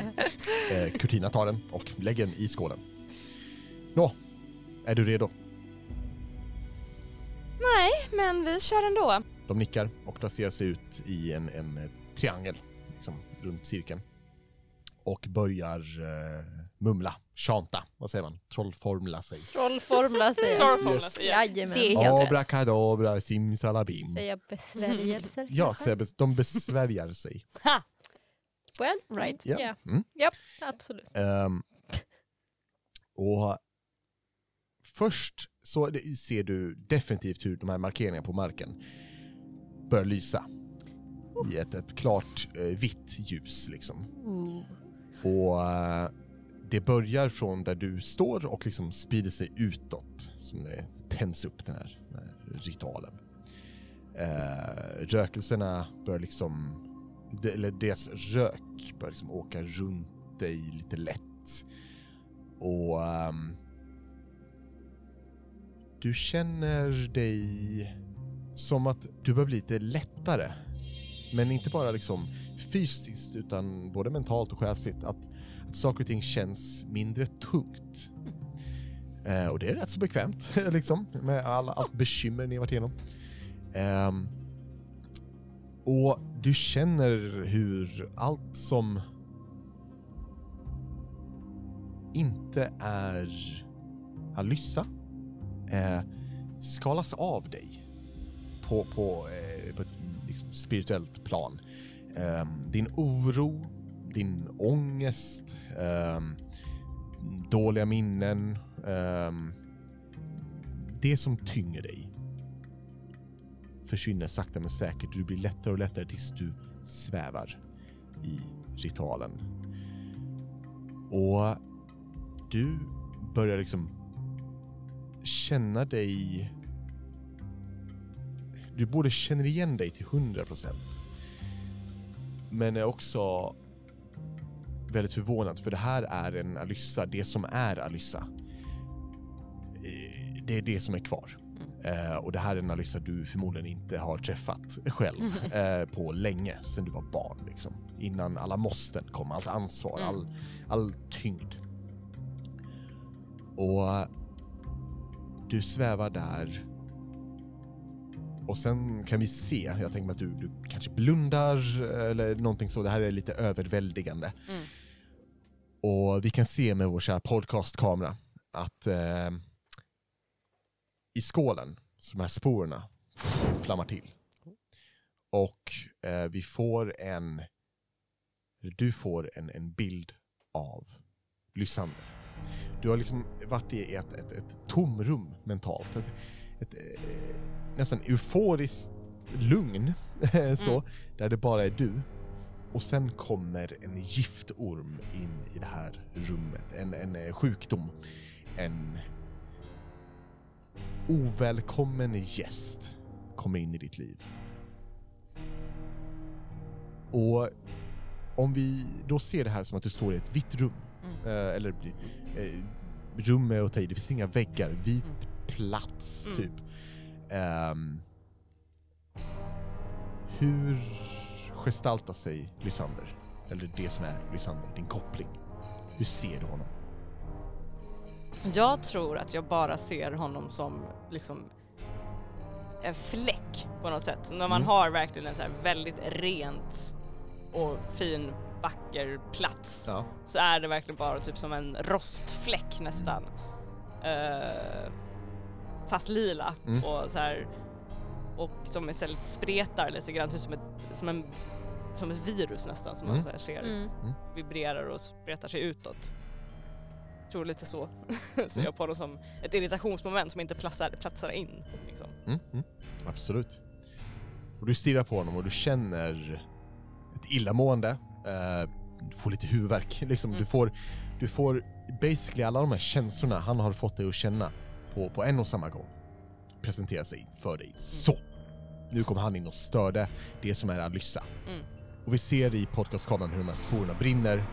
[SPEAKER 1] Eh, eh, Kurtina tar den och lägger den i skålen. Nå, är du redo?
[SPEAKER 3] Nej, men vi kör ändå.
[SPEAKER 1] De nickar och placerar sig ut i en, en eh, triangel, liksom, runt cirkeln. Och börjar eh, mumla, chanta, vad säger man? Trollformla sig.
[SPEAKER 2] Trollformla säger jag.
[SPEAKER 3] Sorrowfulness,
[SPEAKER 1] Yes.
[SPEAKER 3] yes.
[SPEAKER 2] Jajamän.
[SPEAKER 6] Det är helt rätt.
[SPEAKER 1] Abrakadabra, simsalabim.
[SPEAKER 2] Säga besvärjelser.
[SPEAKER 1] Mm. Ja, Sebbe, de besvärjar sig.
[SPEAKER 2] Well, right.
[SPEAKER 1] Ja.
[SPEAKER 2] Ja,
[SPEAKER 1] Mm.
[SPEAKER 2] absolut.
[SPEAKER 1] Ehm, och först så det- ser du definitivt hur de här markeringarna på marken börjar lysa i ett, ett klart eh, vitt ljus liksom. Och eh, det börjar från där du står och liksom sprider sig utåt som det tänds upp den här, den här ritualen. Eh, rökelserna börjar liksom, de, eller deras rök börjar liksom åka runt dig lite lätt. Och ehm, du känner dig som att du börjar bli lite lättare. Men inte bara liksom fysiskt utan både mentalt och själsligt. Att, att saker och ting känns mindre tungt. Eh, och det är rätt så bekvämt liksom med alla, allt bekymmer ni har varit igenom. Ehm, och du känner hur allt som inte är Alyssa eh, skalas av dig på, på, eh, på ett liksom, spirituellt plan. Ehm, din oro, din ångest, ehm, dåliga minnen, ehm, det som tynger dig försvinner sakta men säkert. Du blir lättare och lättare tills du svävar i ritualen. Och du börjar liksom känna dig... Du både känner igen dig till 100 procent men är också väldigt förvånad för det här är en Alyssa, det som är Alyssa. Eh, Det är det som är kvar. Eh, och det här är en Alyssa du förmodligen inte har träffat själv eh, på länge, sedan du var barn. Liksom. Innan alla måsten kom, allt ansvar, all, all tyngd. Och du svävar där. Och sen kan vi se, jag tänker mig att du, du kanske blundar eh, eller någonting så. Det här är lite överväldigande. Och vi kan se med vår kära podcastkamera att eh, i skålen, så de här sporerna flammar till. Och eh, vi får en, eller du får en, en bild av Lysander. Du har liksom varit i ett, ett, ett tomrum mentalt. Ett, ett, eh, nästan euforiskt lugn, så, där det bara är du. Och sen kommer en giftorm in i det här rummet. En, en eh, sjukdom. En ovälkommen gäst kommer in i ditt liv. Och om vi då ser det här som att du står i ett vitt rum.
[SPEAKER 3] Mm.
[SPEAKER 1] Eh, eller eh, rum är att ta i, det finns inga väggar. Vit plats,
[SPEAKER 3] Mm.
[SPEAKER 1] typ. Ehm, hur gestaltar sig Lysander? Eller det som är Lysander, din koppling. Hur ser du honom?
[SPEAKER 3] Jag tror att jag bara ser honom som liksom en fläck på något sätt. När man
[SPEAKER 1] Mm.
[SPEAKER 3] har verkligen en så här väldigt rent och fin vacker plats
[SPEAKER 1] Ja.
[SPEAKER 3] så är det verkligen bara typ som en rostfläck nästan. Eh, fast lila
[SPEAKER 1] Mm.
[SPEAKER 3] och så här och som är så här lite spretar lite grann, typ som ett, som en, som ett virus nästan som
[SPEAKER 1] Mm.
[SPEAKER 3] man så här ser
[SPEAKER 2] Mm.
[SPEAKER 3] vibrerar och spretar sig utåt. tror lite så. Ser jag på dem som ett irritationsmoment som inte platsar, platsar in. Liksom.
[SPEAKER 1] Mm, mm, absolut. Och du stirrar på honom och du känner ett illamående. Eh, du får lite huvudvärk. Liksom,
[SPEAKER 3] Mm.
[SPEAKER 1] du, får, du får basically alla de här känslorna han har fått dig att känna på, på en och samma gång presentera sig för
[SPEAKER 3] Mm.
[SPEAKER 1] dig. Så! Nu kom han in och störde det som är Alyssa.
[SPEAKER 3] Mm.
[SPEAKER 1] Och vi ser i podcastkameran hur de här sporerna brinner.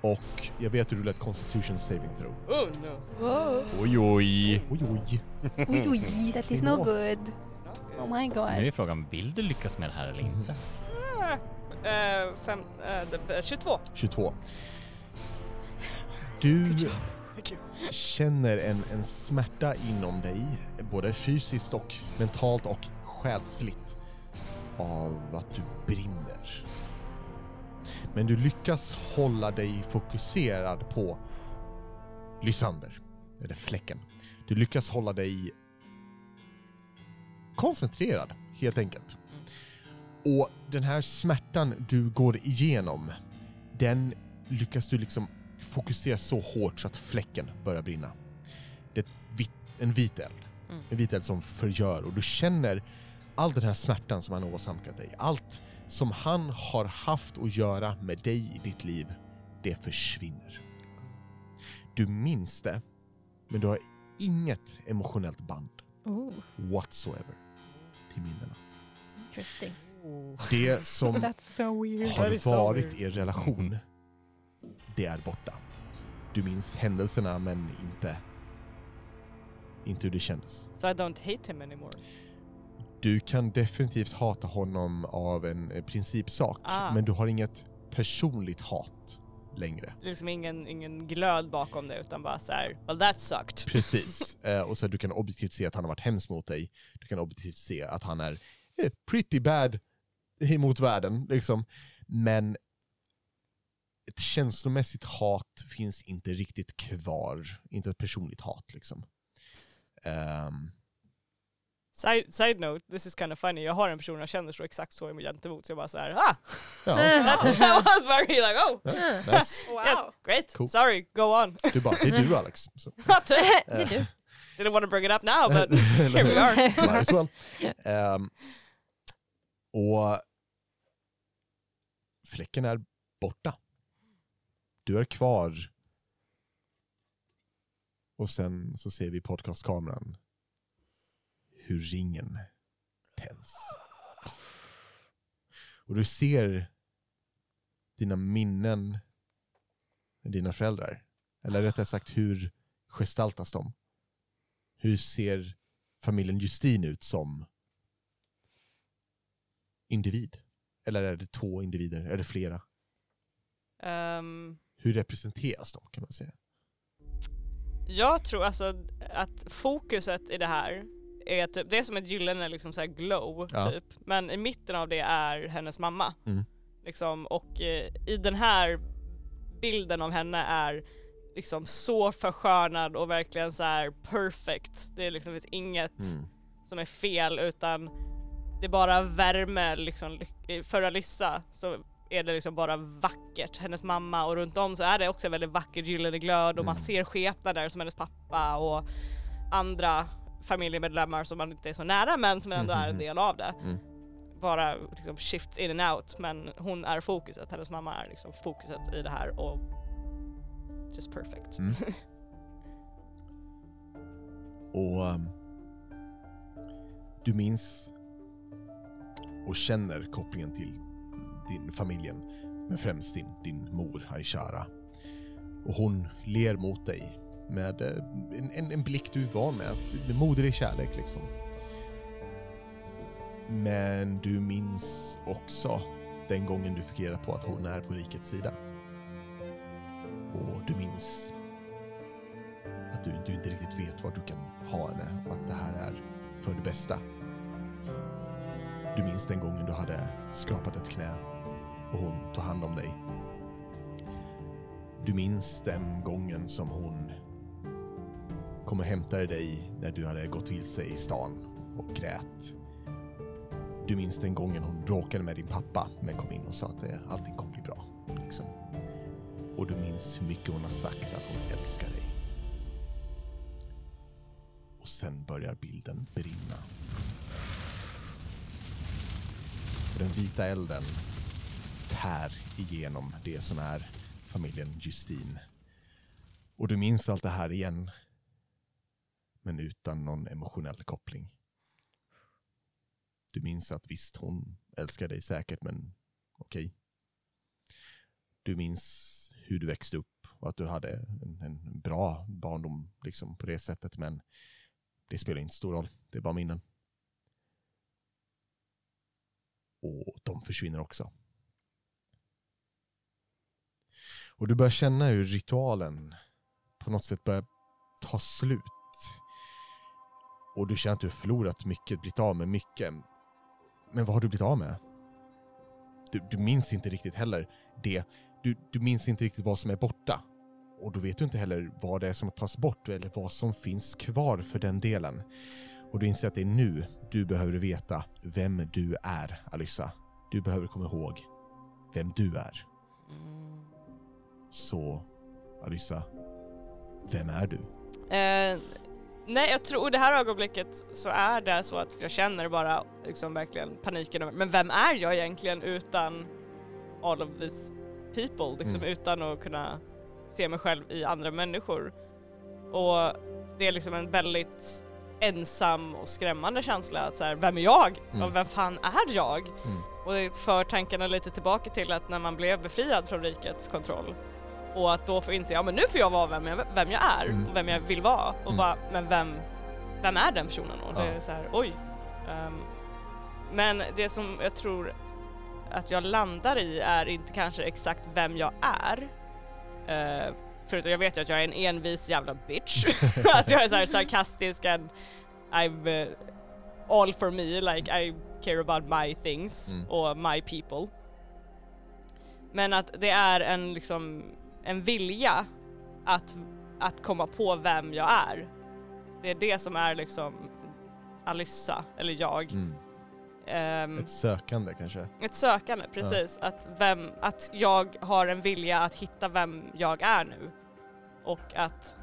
[SPEAKER 1] Och jag vet att du rullar ett Constitution saving throw.
[SPEAKER 3] Oh no!
[SPEAKER 2] Wow.
[SPEAKER 7] Oj, oj.
[SPEAKER 1] Oj, oj.
[SPEAKER 6] Oj, oj, that is no
[SPEAKER 1] Off.
[SPEAKER 6] good. Oh my
[SPEAKER 7] Nu
[SPEAKER 6] god.
[SPEAKER 7] är frågan, vill du lyckas med det här eller inte?
[SPEAKER 3] Eh, fem, eh, det- eh, 22.
[SPEAKER 1] 22. Du
[SPEAKER 3] Thank you.
[SPEAKER 1] känner en, en smärta inom dig, både fysiskt och mentalt och själsligt, av att du brinner. Men du lyckas hålla dig fokuserad på Lysander, eller fläcken. Du lyckas hålla dig koncentrerad, helt enkelt. Och den här smärtan du går igenom, den lyckas du liksom fokusera så hårt så att fläcken börjar brinna. Det är ett vit, en vit eld.
[SPEAKER 3] Mm.
[SPEAKER 1] En vit eld som förgör och du känner all den här smärtan som han har åsamkat dig. Allt som han har haft att göra med dig i ditt liv, det försvinner. Du minns det, men du har inget emotionellt band
[SPEAKER 2] Oh,
[SPEAKER 1] whatsoever till minnena.
[SPEAKER 2] interesting.
[SPEAKER 1] Det som
[SPEAKER 4] That's so weird.
[SPEAKER 3] That
[SPEAKER 1] har
[SPEAKER 3] is so
[SPEAKER 1] varit
[SPEAKER 3] weird.
[SPEAKER 1] er relation, det är borta. Du minns händelserna men inte, inte hur det kändes.
[SPEAKER 3] So I don't hate him anymore.
[SPEAKER 1] Du kan definitivt hata honom av en eh, principsak,
[SPEAKER 3] Ah.
[SPEAKER 1] men du har inget personligt hat längre.
[SPEAKER 3] Liksom ingen, ingen glöd bakom det utan bara så här, well that sucked.
[SPEAKER 1] Precis. Eh, och så att du kan objektivt se att han har varit hemsk mot dig. Du kan objektivt se att han är eh, pretty bad emot världen. Liksom. Men ett känslomässigt hat finns inte riktigt kvar. Inte ett personligt hat liksom. Ehm,
[SPEAKER 3] Side, side note, this is kind of funny. Jag har en person jag känner så exakt så gentemot så jag bara så här, ah!
[SPEAKER 1] ja,
[SPEAKER 3] That's, that was very like, oh!
[SPEAKER 1] nice.
[SPEAKER 3] Yes, great!
[SPEAKER 1] Cool.
[SPEAKER 3] Sorry, go on!
[SPEAKER 1] Du bara, det är du Alex. Så,
[SPEAKER 2] Det är du.
[SPEAKER 3] Didn't want to bring it up now but
[SPEAKER 1] Eller
[SPEAKER 3] here
[SPEAKER 1] hur?
[SPEAKER 3] we are.
[SPEAKER 1] Might as well. Ehm, och fläcken är borta. Du är kvar. Och sen så ser vi i podcastkameran hur ringen tänds. Och du ser dina minnen med dina föräldrar. Eller rättare sagt, hur gestaltas de? Hur ser familjen Justin ut som individ? Eller är det två individer? Är det flera?
[SPEAKER 3] Ehm,
[SPEAKER 1] Hur representeras de kan man säga?
[SPEAKER 3] Jag tror alltså att fokuset i det här är typ, det är som ett gyllene liksom så här glow
[SPEAKER 1] Ja.
[SPEAKER 3] typ. Men i mitten av det är hennes mamma.
[SPEAKER 1] Mm.
[SPEAKER 3] Liksom, och eh, i den här bilden av henne är liksom så förskönad och verkligen så här perfect. Det är liksom finns inget
[SPEAKER 1] Mm.
[SPEAKER 3] som är fel utan det är bara värme liksom. ly- För Alyssa så är det liksom bara vackert. Hennes mamma och runt om så är det också en väldigt vacker gyllene glöd och man
[SPEAKER 1] Mm.
[SPEAKER 3] ser skepnader som hennes pappa och andra familjemedlemmar som man inte är så nära men som ändå
[SPEAKER 1] Mm,
[SPEAKER 3] är en
[SPEAKER 1] mm,
[SPEAKER 3] del av det.
[SPEAKER 1] Mm.
[SPEAKER 3] Bara liksom shifts in and out men hon är fokuset. Hennes mamma är liksom fokuset i det här och just perfect.
[SPEAKER 1] Mm. Och ehm, du minns och känner kopplingen till din familjen, men främst din, din mor Aishara. Och hon ler mot dig med eh, en, en, en blick du är van med, med moderlig kärlek liksom. Men du minns också den gången du fick reda på att hon är på rikets sida. Och du minns att du, du inte riktigt vet vart du kan ha henne och att det här är för det bästa. Du minns den gången du hade skrapat ett knä och hon tog hand om dig. Du minns den gången som hon kom och hämtade dig när du hade gått vilse i stan och grät. Du minns den gången hon bråkade med din pappa men kom in och sa att eh, allting kommer bli bra. Liksom. och du minns hur mycket hon har sagt att hon älskar dig. Och sen börjar bilden brinna. Och den vita elden tär igenom det som är familjen Justine. Och du minns allt det här igen. Men utan någon emotionell koppling. Du minns att visst, hon älskar dig säkert, men okej. Du minns hur du växte upp och att du hade en, en bra barndom liksom, på det sättet, men det spelar inte stor roll. Det är bara minnen. Och de försvinner också. Och du börjar känna hur ritualen på något sätt börjar ta slut. Och du känner att du har förlorat mycket, blivit av med mycket. Men vad har du blivit av med? Du, du minns inte riktigt heller det. Du, du minns inte riktigt vad som är borta. Och då vet du inte heller vad det är som tas bort eller vad som finns kvar för den delen. Och du inser att det är nu du behöver veta vem du är, Alyssa. Du behöver komma ihåg vem du är. Mm. Så, Alyssa, vem är du?
[SPEAKER 3] Eh, nej, jag tror i det här ögonblicket så är det så att jag känner bara liksom verkligen paniken över, men vem är jag egentligen utan all of these people, liksom
[SPEAKER 1] Mm.
[SPEAKER 3] utan att kunna se mig själv i andra människor. Och det är liksom en väldigt ensam och skrämmande känsla att så här, vem är jag?
[SPEAKER 1] Mm.
[SPEAKER 3] Och vem fan är jag?
[SPEAKER 1] Mm.
[SPEAKER 3] Och det för tankarna lite tillbaka till att när man blev befriad från rikets kontroll och att då få inse, ja men nu får jag vara vem jag, vem jag är
[SPEAKER 1] Mm.
[SPEAKER 3] och vem jag vill vara och
[SPEAKER 1] Mm.
[SPEAKER 3] bara, men vem, vem är den personen? Och det
[SPEAKER 1] Ja.
[SPEAKER 3] är så här, oj. Ehm, men det som jag tror att jag landar i är inte kanske exakt vem jag är. Eh, förutom jag vet ju att jag är en envis jävla bitch. att jag är så här sarkastisk and I'm eh, all for me, like I care about my things
[SPEAKER 1] Mm.
[SPEAKER 3] och my people. Men att det är en liksom en vilja att, att komma på vem jag är. Det är det som är liksom Alyssa, eller jag.
[SPEAKER 1] Mm.
[SPEAKER 3] Ehm,
[SPEAKER 1] Ett sökande kanske?
[SPEAKER 3] ett sökande, precis. Att, vem, att jag har en vilja att hitta vem jag är nu. Och att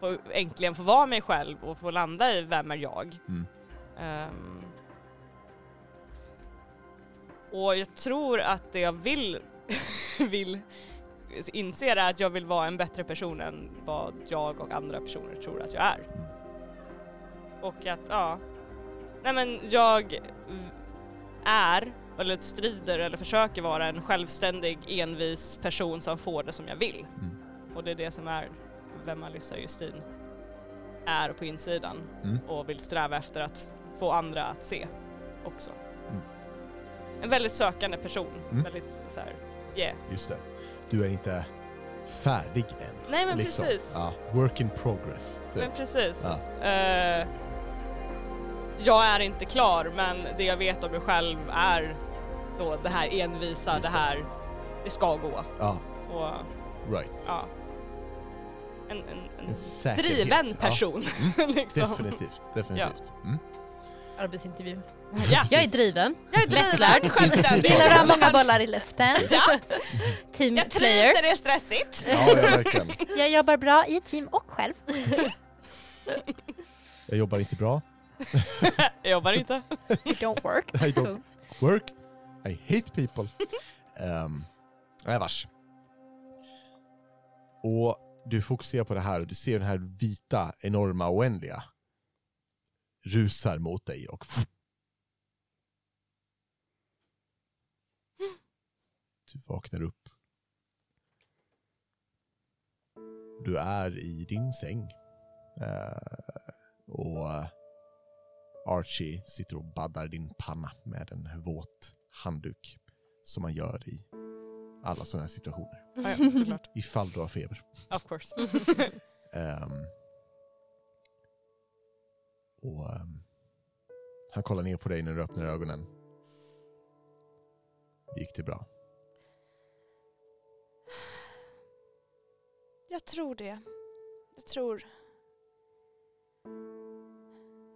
[SPEAKER 3] få, äntligen få vara mig själv och få landa i vem är jag.
[SPEAKER 1] Mm.
[SPEAKER 3] Ehm. och jag tror att det jag vill, vill inse är att jag vill vara en bättre person än vad jag och andra personer tror att jag är.
[SPEAKER 1] Mm.
[SPEAKER 3] Och att, ja. Nej men jag är eller strider eller försöker vara en självständig, envis person som får det som jag vill.
[SPEAKER 1] Mm.
[SPEAKER 3] Och det är det som är vem Alyssa Justin är på insidan
[SPEAKER 1] Mm.
[SPEAKER 3] och vill sträva efter att få andra att se också.
[SPEAKER 1] Mm.
[SPEAKER 3] En väldigt sökande person.
[SPEAKER 1] Mm.
[SPEAKER 3] Väldigt så här, yeah.
[SPEAKER 1] Just det. Du är inte färdig än.
[SPEAKER 3] Nej men
[SPEAKER 1] liksom.
[SPEAKER 3] precis.
[SPEAKER 1] Ja, work in progress. Typ.
[SPEAKER 3] Men precis.
[SPEAKER 1] Ja.
[SPEAKER 3] Eh, jag är inte klar men det jag vet om mig själv är då det här envisa,
[SPEAKER 1] Just
[SPEAKER 3] det
[SPEAKER 1] det.
[SPEAKER 3] här, det ska gå.
[SPEAKER 1] Ja,
[SPEAKER 3] Och
[SPEAKER 1] right.
[SPEAKER 3] ja. En, en, en
[SPEAKER 1] En säkerhet.
[SPEAKER 3] driven
[SPEAKER 1] Ja, Mm.
[SPEAKER 3] person. liksom.
[SPEAKER 1] definitivt. definitivt. Mm.
[SPEAKER 2] Arbetsintervju.
[SPEAKER 3] Ja,
[SPEAKER 2] Jag är driven.
[SPEAKER 3] jag är driven,
[SPEAKER 2] Lättlärd.
[SPEAKER 3] självständig.
[SPEAKER 2] Gillar
[SPEAKER 4] Gillar
[SPEAKER 2] att ha
[SPEAKER 4] att många bollar i luften.
[SPEAKER 3] Ja,
[SPEAKER 2] Team
[SPEAKER 3] jag
[SPEAKER 2] player.
[SPEAKER 3] trivs när det är stressigt.
[SPEAKER 1] Ja, ja, verkligen.
[SPEAKER 6] Jag jobbar bra i team och själv.
[SPEAKER 1] Jag jobbar inte bra.
[SPEAKER 3] Jag jobbar inte.
[SPEAKER 4] You don't work.
[SPEAKER 1] I don't work. I hate people. um, nej, vars. Och du fokuserar på det här och du ser den här vita, enorma, oändliga rusar mot dig och du vaknar upp. Du är i din säng. Eh, och Archie sitter och baddar din panna med en våt handduk som man gör i alla sådana här situationer.
[SPEAKER 3] Ja, ja, såklart.
[SPEAKER 1] Ifall du har feber.
[SPEAKER 3] Of course.
[SPEAKER 1] Ehm, och ehm, Han kollar ner på dig när du öppnar ögonen. Gick det bra?
[SPEAKER 3] Jag tror det. Jag tror...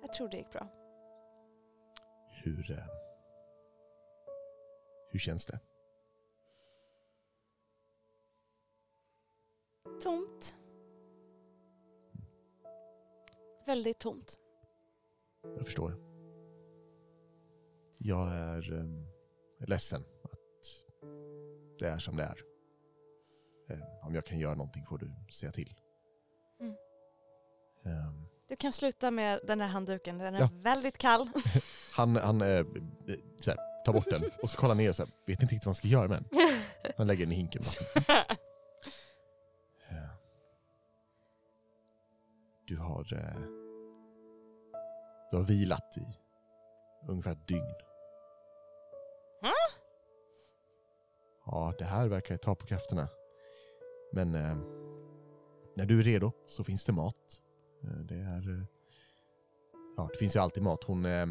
[SPEAKER 3] Jag tror det gick bra.
[SPEAKER 1] Hur, eh, hur känns det?
[SPEAKER 3] tomt. Väldigt tomt.
[SPEAKER 1] Jag förstår. Jag är um, ledsen att det är som det är. Em, om jag kan göra någonting får du säga till. Ehm,
[SPEAKER 3] Mm.
[SPEAKER 1] Em,
[SPEAKER 3] Du kan sluta med den här handduken, den är
[SPEAKER 1] Ja.
[SPEAKER 3] väldigt kall.
[SPEAKER 1] han han eh, eh, så här, tar bort den och så kollar han ner och så här, vet inte riktigt vad han ska göra med den. Han lägger den i hinken. bara. Eh, Du har... eh, Du har vilat i ungefär ett dygn.
[SPEAKER 3] Va?
[SPEAKER 1] Ja, det här verkar ta på krafterna. Men eh, när du är redo så finns det mat. Eh, det är... Eh, ja, det finns ju alltid mat. Hon... Eh,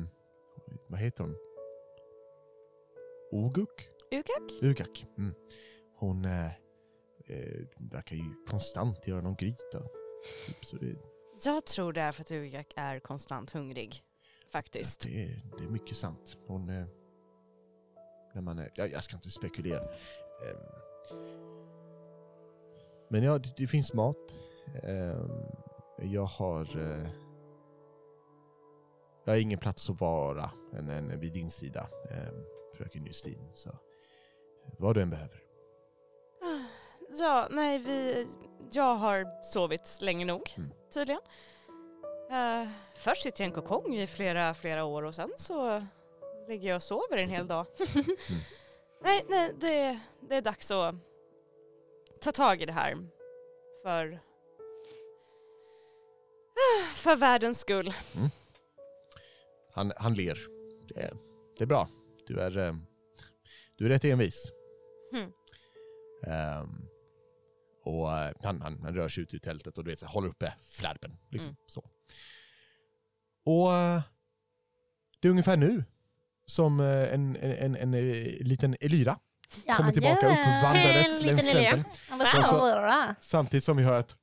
[SPEAKER 1] vad heter hon? Oguk?
[SPEAKER 3] Ukak?
[SPEAKER 1] Ukak. Mm. Hon eh, eh, verkar ju konstant göra någon gryta. Typ, så det,
[SPEAKER 3] Jag tror det är för att Ukak är konstant hungrig. Faktiskt.
[SPEAKER 1] det, är, det är mycket sant. Hon... Eh, när man är, jag, jag ska inte spekulera. Ehm. men ja, det, det finns mat. Ehm, jag har... Eh, jag har ingen plats att vara än, än vid din sida, ehm, fröken Justin. Så vad du än behöver.
[SPEAKER 3] Ja, nej, vi, jag har sovit länge nog
[SPEAKER 1] Mm.
[SPEAKER 3] tydligen. Eh, först sitter jag i en kokong i flera, flera år och sen så ligger jag och sover en hel dag. Nej, nej, det, det är dags att ta tag i det här. För, för världens skull.
[SPEAKER 1] Han, han ler. Det är, det är bra. Du är, eh, du är rätt envis.
[SPEAKER 6] Hmm.
[SPEAKER 3] Mm.
[SPEAKER 1] Ehm, och eh, han, han, han rör sig ut ur tältet och du vet, så här, håller uppe flärpen. Liksom,
[SPEAKER 3] Mm.
[SPEAKER 1] så. Och eh, det är ungefär nu som eh, en, en, en, en eh, liten Elyra kommer tillbaka uppvandrades
[SPEAKER 6] En
[SPEAKER 1] längs
[SPEAKER 6] liten
[SPEAKER 1] slänten.
[SPEAKER 6] elev. Han bara,
[SPEAKER 1] Alltså-
[SPEAKER 6] "Tara."
[SPEAKER 1] Samtidigt som vi hör ett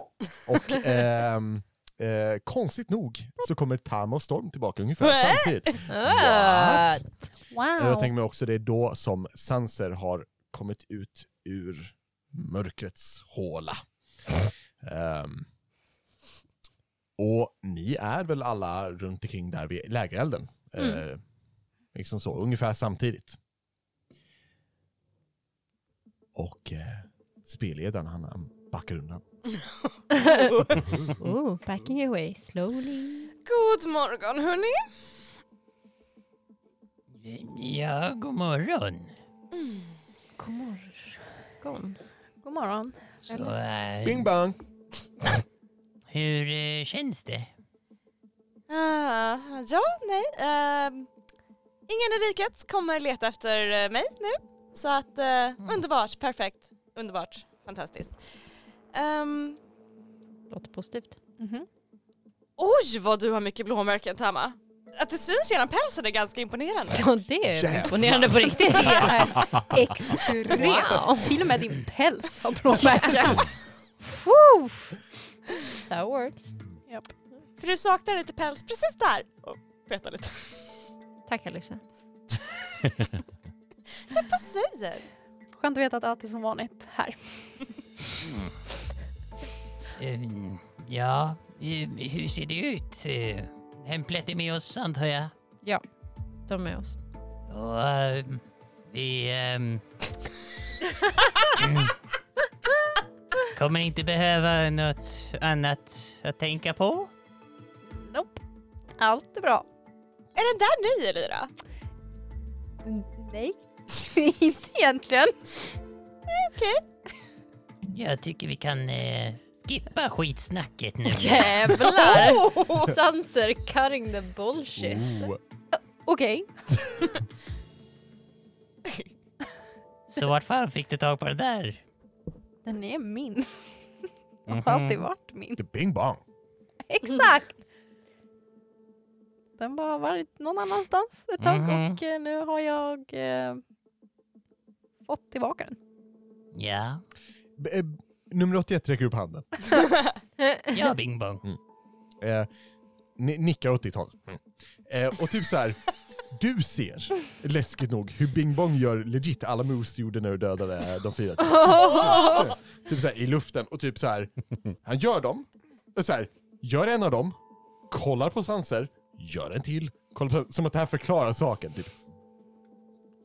[SPEAKER 1] och ehm, eh, konstigt nog så kommer Tam och Storm tillbaka ungefär
[SPEAKER 3] Äh?
[SPEAKER 1] samtidigt.
[SPEAKER 2] Ah,
[SPEAKER 1] What? Jag
[SPEAKER 6] Wow.
[SPEAKER 1] tänker mig också det är då som Sanser har kommit ut ur mörkrets håla. Ehm, och ni är väl alla runt omkring där vid lägerelden? Eh, liksom så, ungefär samtidigt. Och eh, spelledaren han, han backar undan.
[SPEAKER 2] Ooh, backing away slowly.
[SPEAKER 3] God morgon hörni!
[SPEAKER 7] Mm. Ja, god morgon.
[SPEAKER 6] God morgon. God morgon.
[SPEAKER 7] Så, eh,
[SPEAKER 1] Bing bang!
[SPEAKER 7] hur eh, känns det?
[SPEAKER 3] Ah, ja, nej. ehm, ingen i riket kommer leta efter eh, mig nu. Så att eh, underbart, perfekt, underbart, fantastiskt. Ehm,
[SPEAKER 2] Låter positivt.
[SPEAKER 6] Mhm.
[SPEAKER 3] oj, vad du har mycket blåmärken Tama. Att det syns genom pälsen är ganska imponerande.
[SPEAKER 2] Ja, det är
[SPEAKER 1] Jävlar.
[SPEAKER 2] imponerande på riktigt.
[SPEAKER 6] Det är extremt. Till och med din päls har blåmärken.
[SPEAKER 2] Woo! That works.
[SPEAKER 3] För du saknar lite päls precis där. Och peta lite.
[SPEAKER 2] Tack Alicia.
[SPEAKER 3] Vad säger?
[SPEAKER 6] Skönt att veta att allt är som vanligt här.
[SPEAKER 7] Ehm, ja, ehm, hur ser det ut? Eh, Hemplet är med oss antar jag.
[SPEAKER 2] De är med oss.
[SPEAKER 7] Och ehm, vi... ehm, mm, kommer inte behöva något annat att tänka på.
[SPEAKER 6] Nope. Allt är bra.
[SPEAKER 3] Är den där ny Elira?
[SPEAKER 6] Nej. Inte egentligen.
[SPEAKER 7] Jag tycker vi kan eh, skippa skitsnacket nu.
[SPEAKER 2] Jävlar! Mm. Sanser cutting the bullshit.
[SPEAKER 1] Oh.
[SPEAKER 6] Okej.
[SPEAKER 7] Så vart fan fick du tag på det där?
[SPEAKER 6] Den är min. Den har alltid varit min.
[SPEAKER 1] The bing bang!
[SPEAKER 6] Exakt! Den bara har varit någon annanstans ett tag
[SPEAKER 7] Mhm.
[SPEAKER 6] och eh, nu har jag eh, fått tillbaka den.
[SPEAKER 7] Ja,
[SPEAKER 1] B- eh, nummer 81 räcker upp handen.
[SPEAKER 7] ja Bing Bong.
[SPEAKER 1] Eh, ni- nickar åt ditt håll. Eh, och typ så här, Du ser, läskigt nog, hur Bing Bong gör legit alla moves du gjorde när du dödade eh, de fyra. typ såhär i luften och typ så här. han gör dem, och så här, gör en av dem, kollar på Sanser, gör en till, kollar på, som att det här förklarar saken. Typ.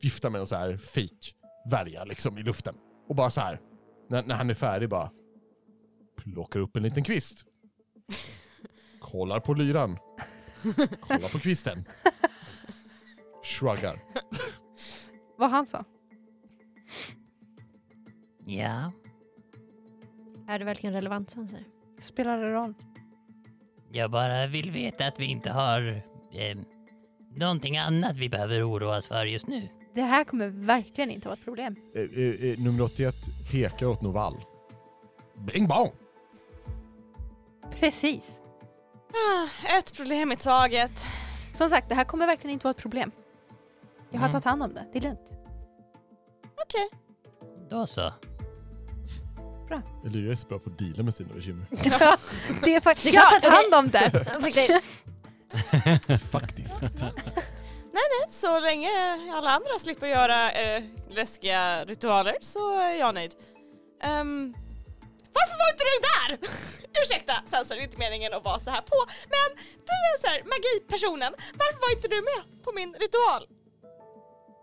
[SPEAKER 1] Viftar med en så här fake värja liksom i luften. Och bara så här, när, när han är färdig bara, plockar upp en liten kvist. Kollar på lyran. Kollar på kvisten. Shruggar.
[SPEAKER 4] Vad han sa?
[SPEAKER 7] Ja,
[SPEAKER 2] Är det verkligen relevant sanser?
[SPEAKER 4] Spelar det roll?
[SPEAKER 7] jag bara vill veta att vi inte har eh, någonting annat vi behöver oroa oss för just nu.
[SPEAKER 4] Det här kommer verkligen inte vara ett problem.
[SPEAKER 1] Eh, eh, eh, nummer 81 pekar åt Novall. Bing bong!
[SPEAKER 4] Precis.
[SPEAKER 3] Ah, Ett problem i taget.
[SPEAKER 4] Som sagt, det här kommer verkligen inte vara ett problem. Jag har
[SPEAKER 7] Mm.
[SPEAKER 4] tagit hand om det. Det är lugnt.
[SPEAKER 3] Okej.
[SPEAKER 7] Då så.
[SPEAKER 1] Lyra är så bra på att deala med sina bekymmer.
[SPEAKER 4] det är faktiskt...
[SPEAKER 2] Ja,
[SPEAKER 4] Jag har tagit
[SPEAKER 2] okej.
[SPEAKER 4] hand om det!
[SPEAKER 1] Faktiskt.
[SPEAKER 3] Så länge alla andra slipper göra eh, läskiga ritualer så är jag nöjd. Ehm, varför var inte du där? Ursäkta, sen så är det inte meningen att vara så här på, men du är så här magipersonen. Varför var inte du med på min ritual?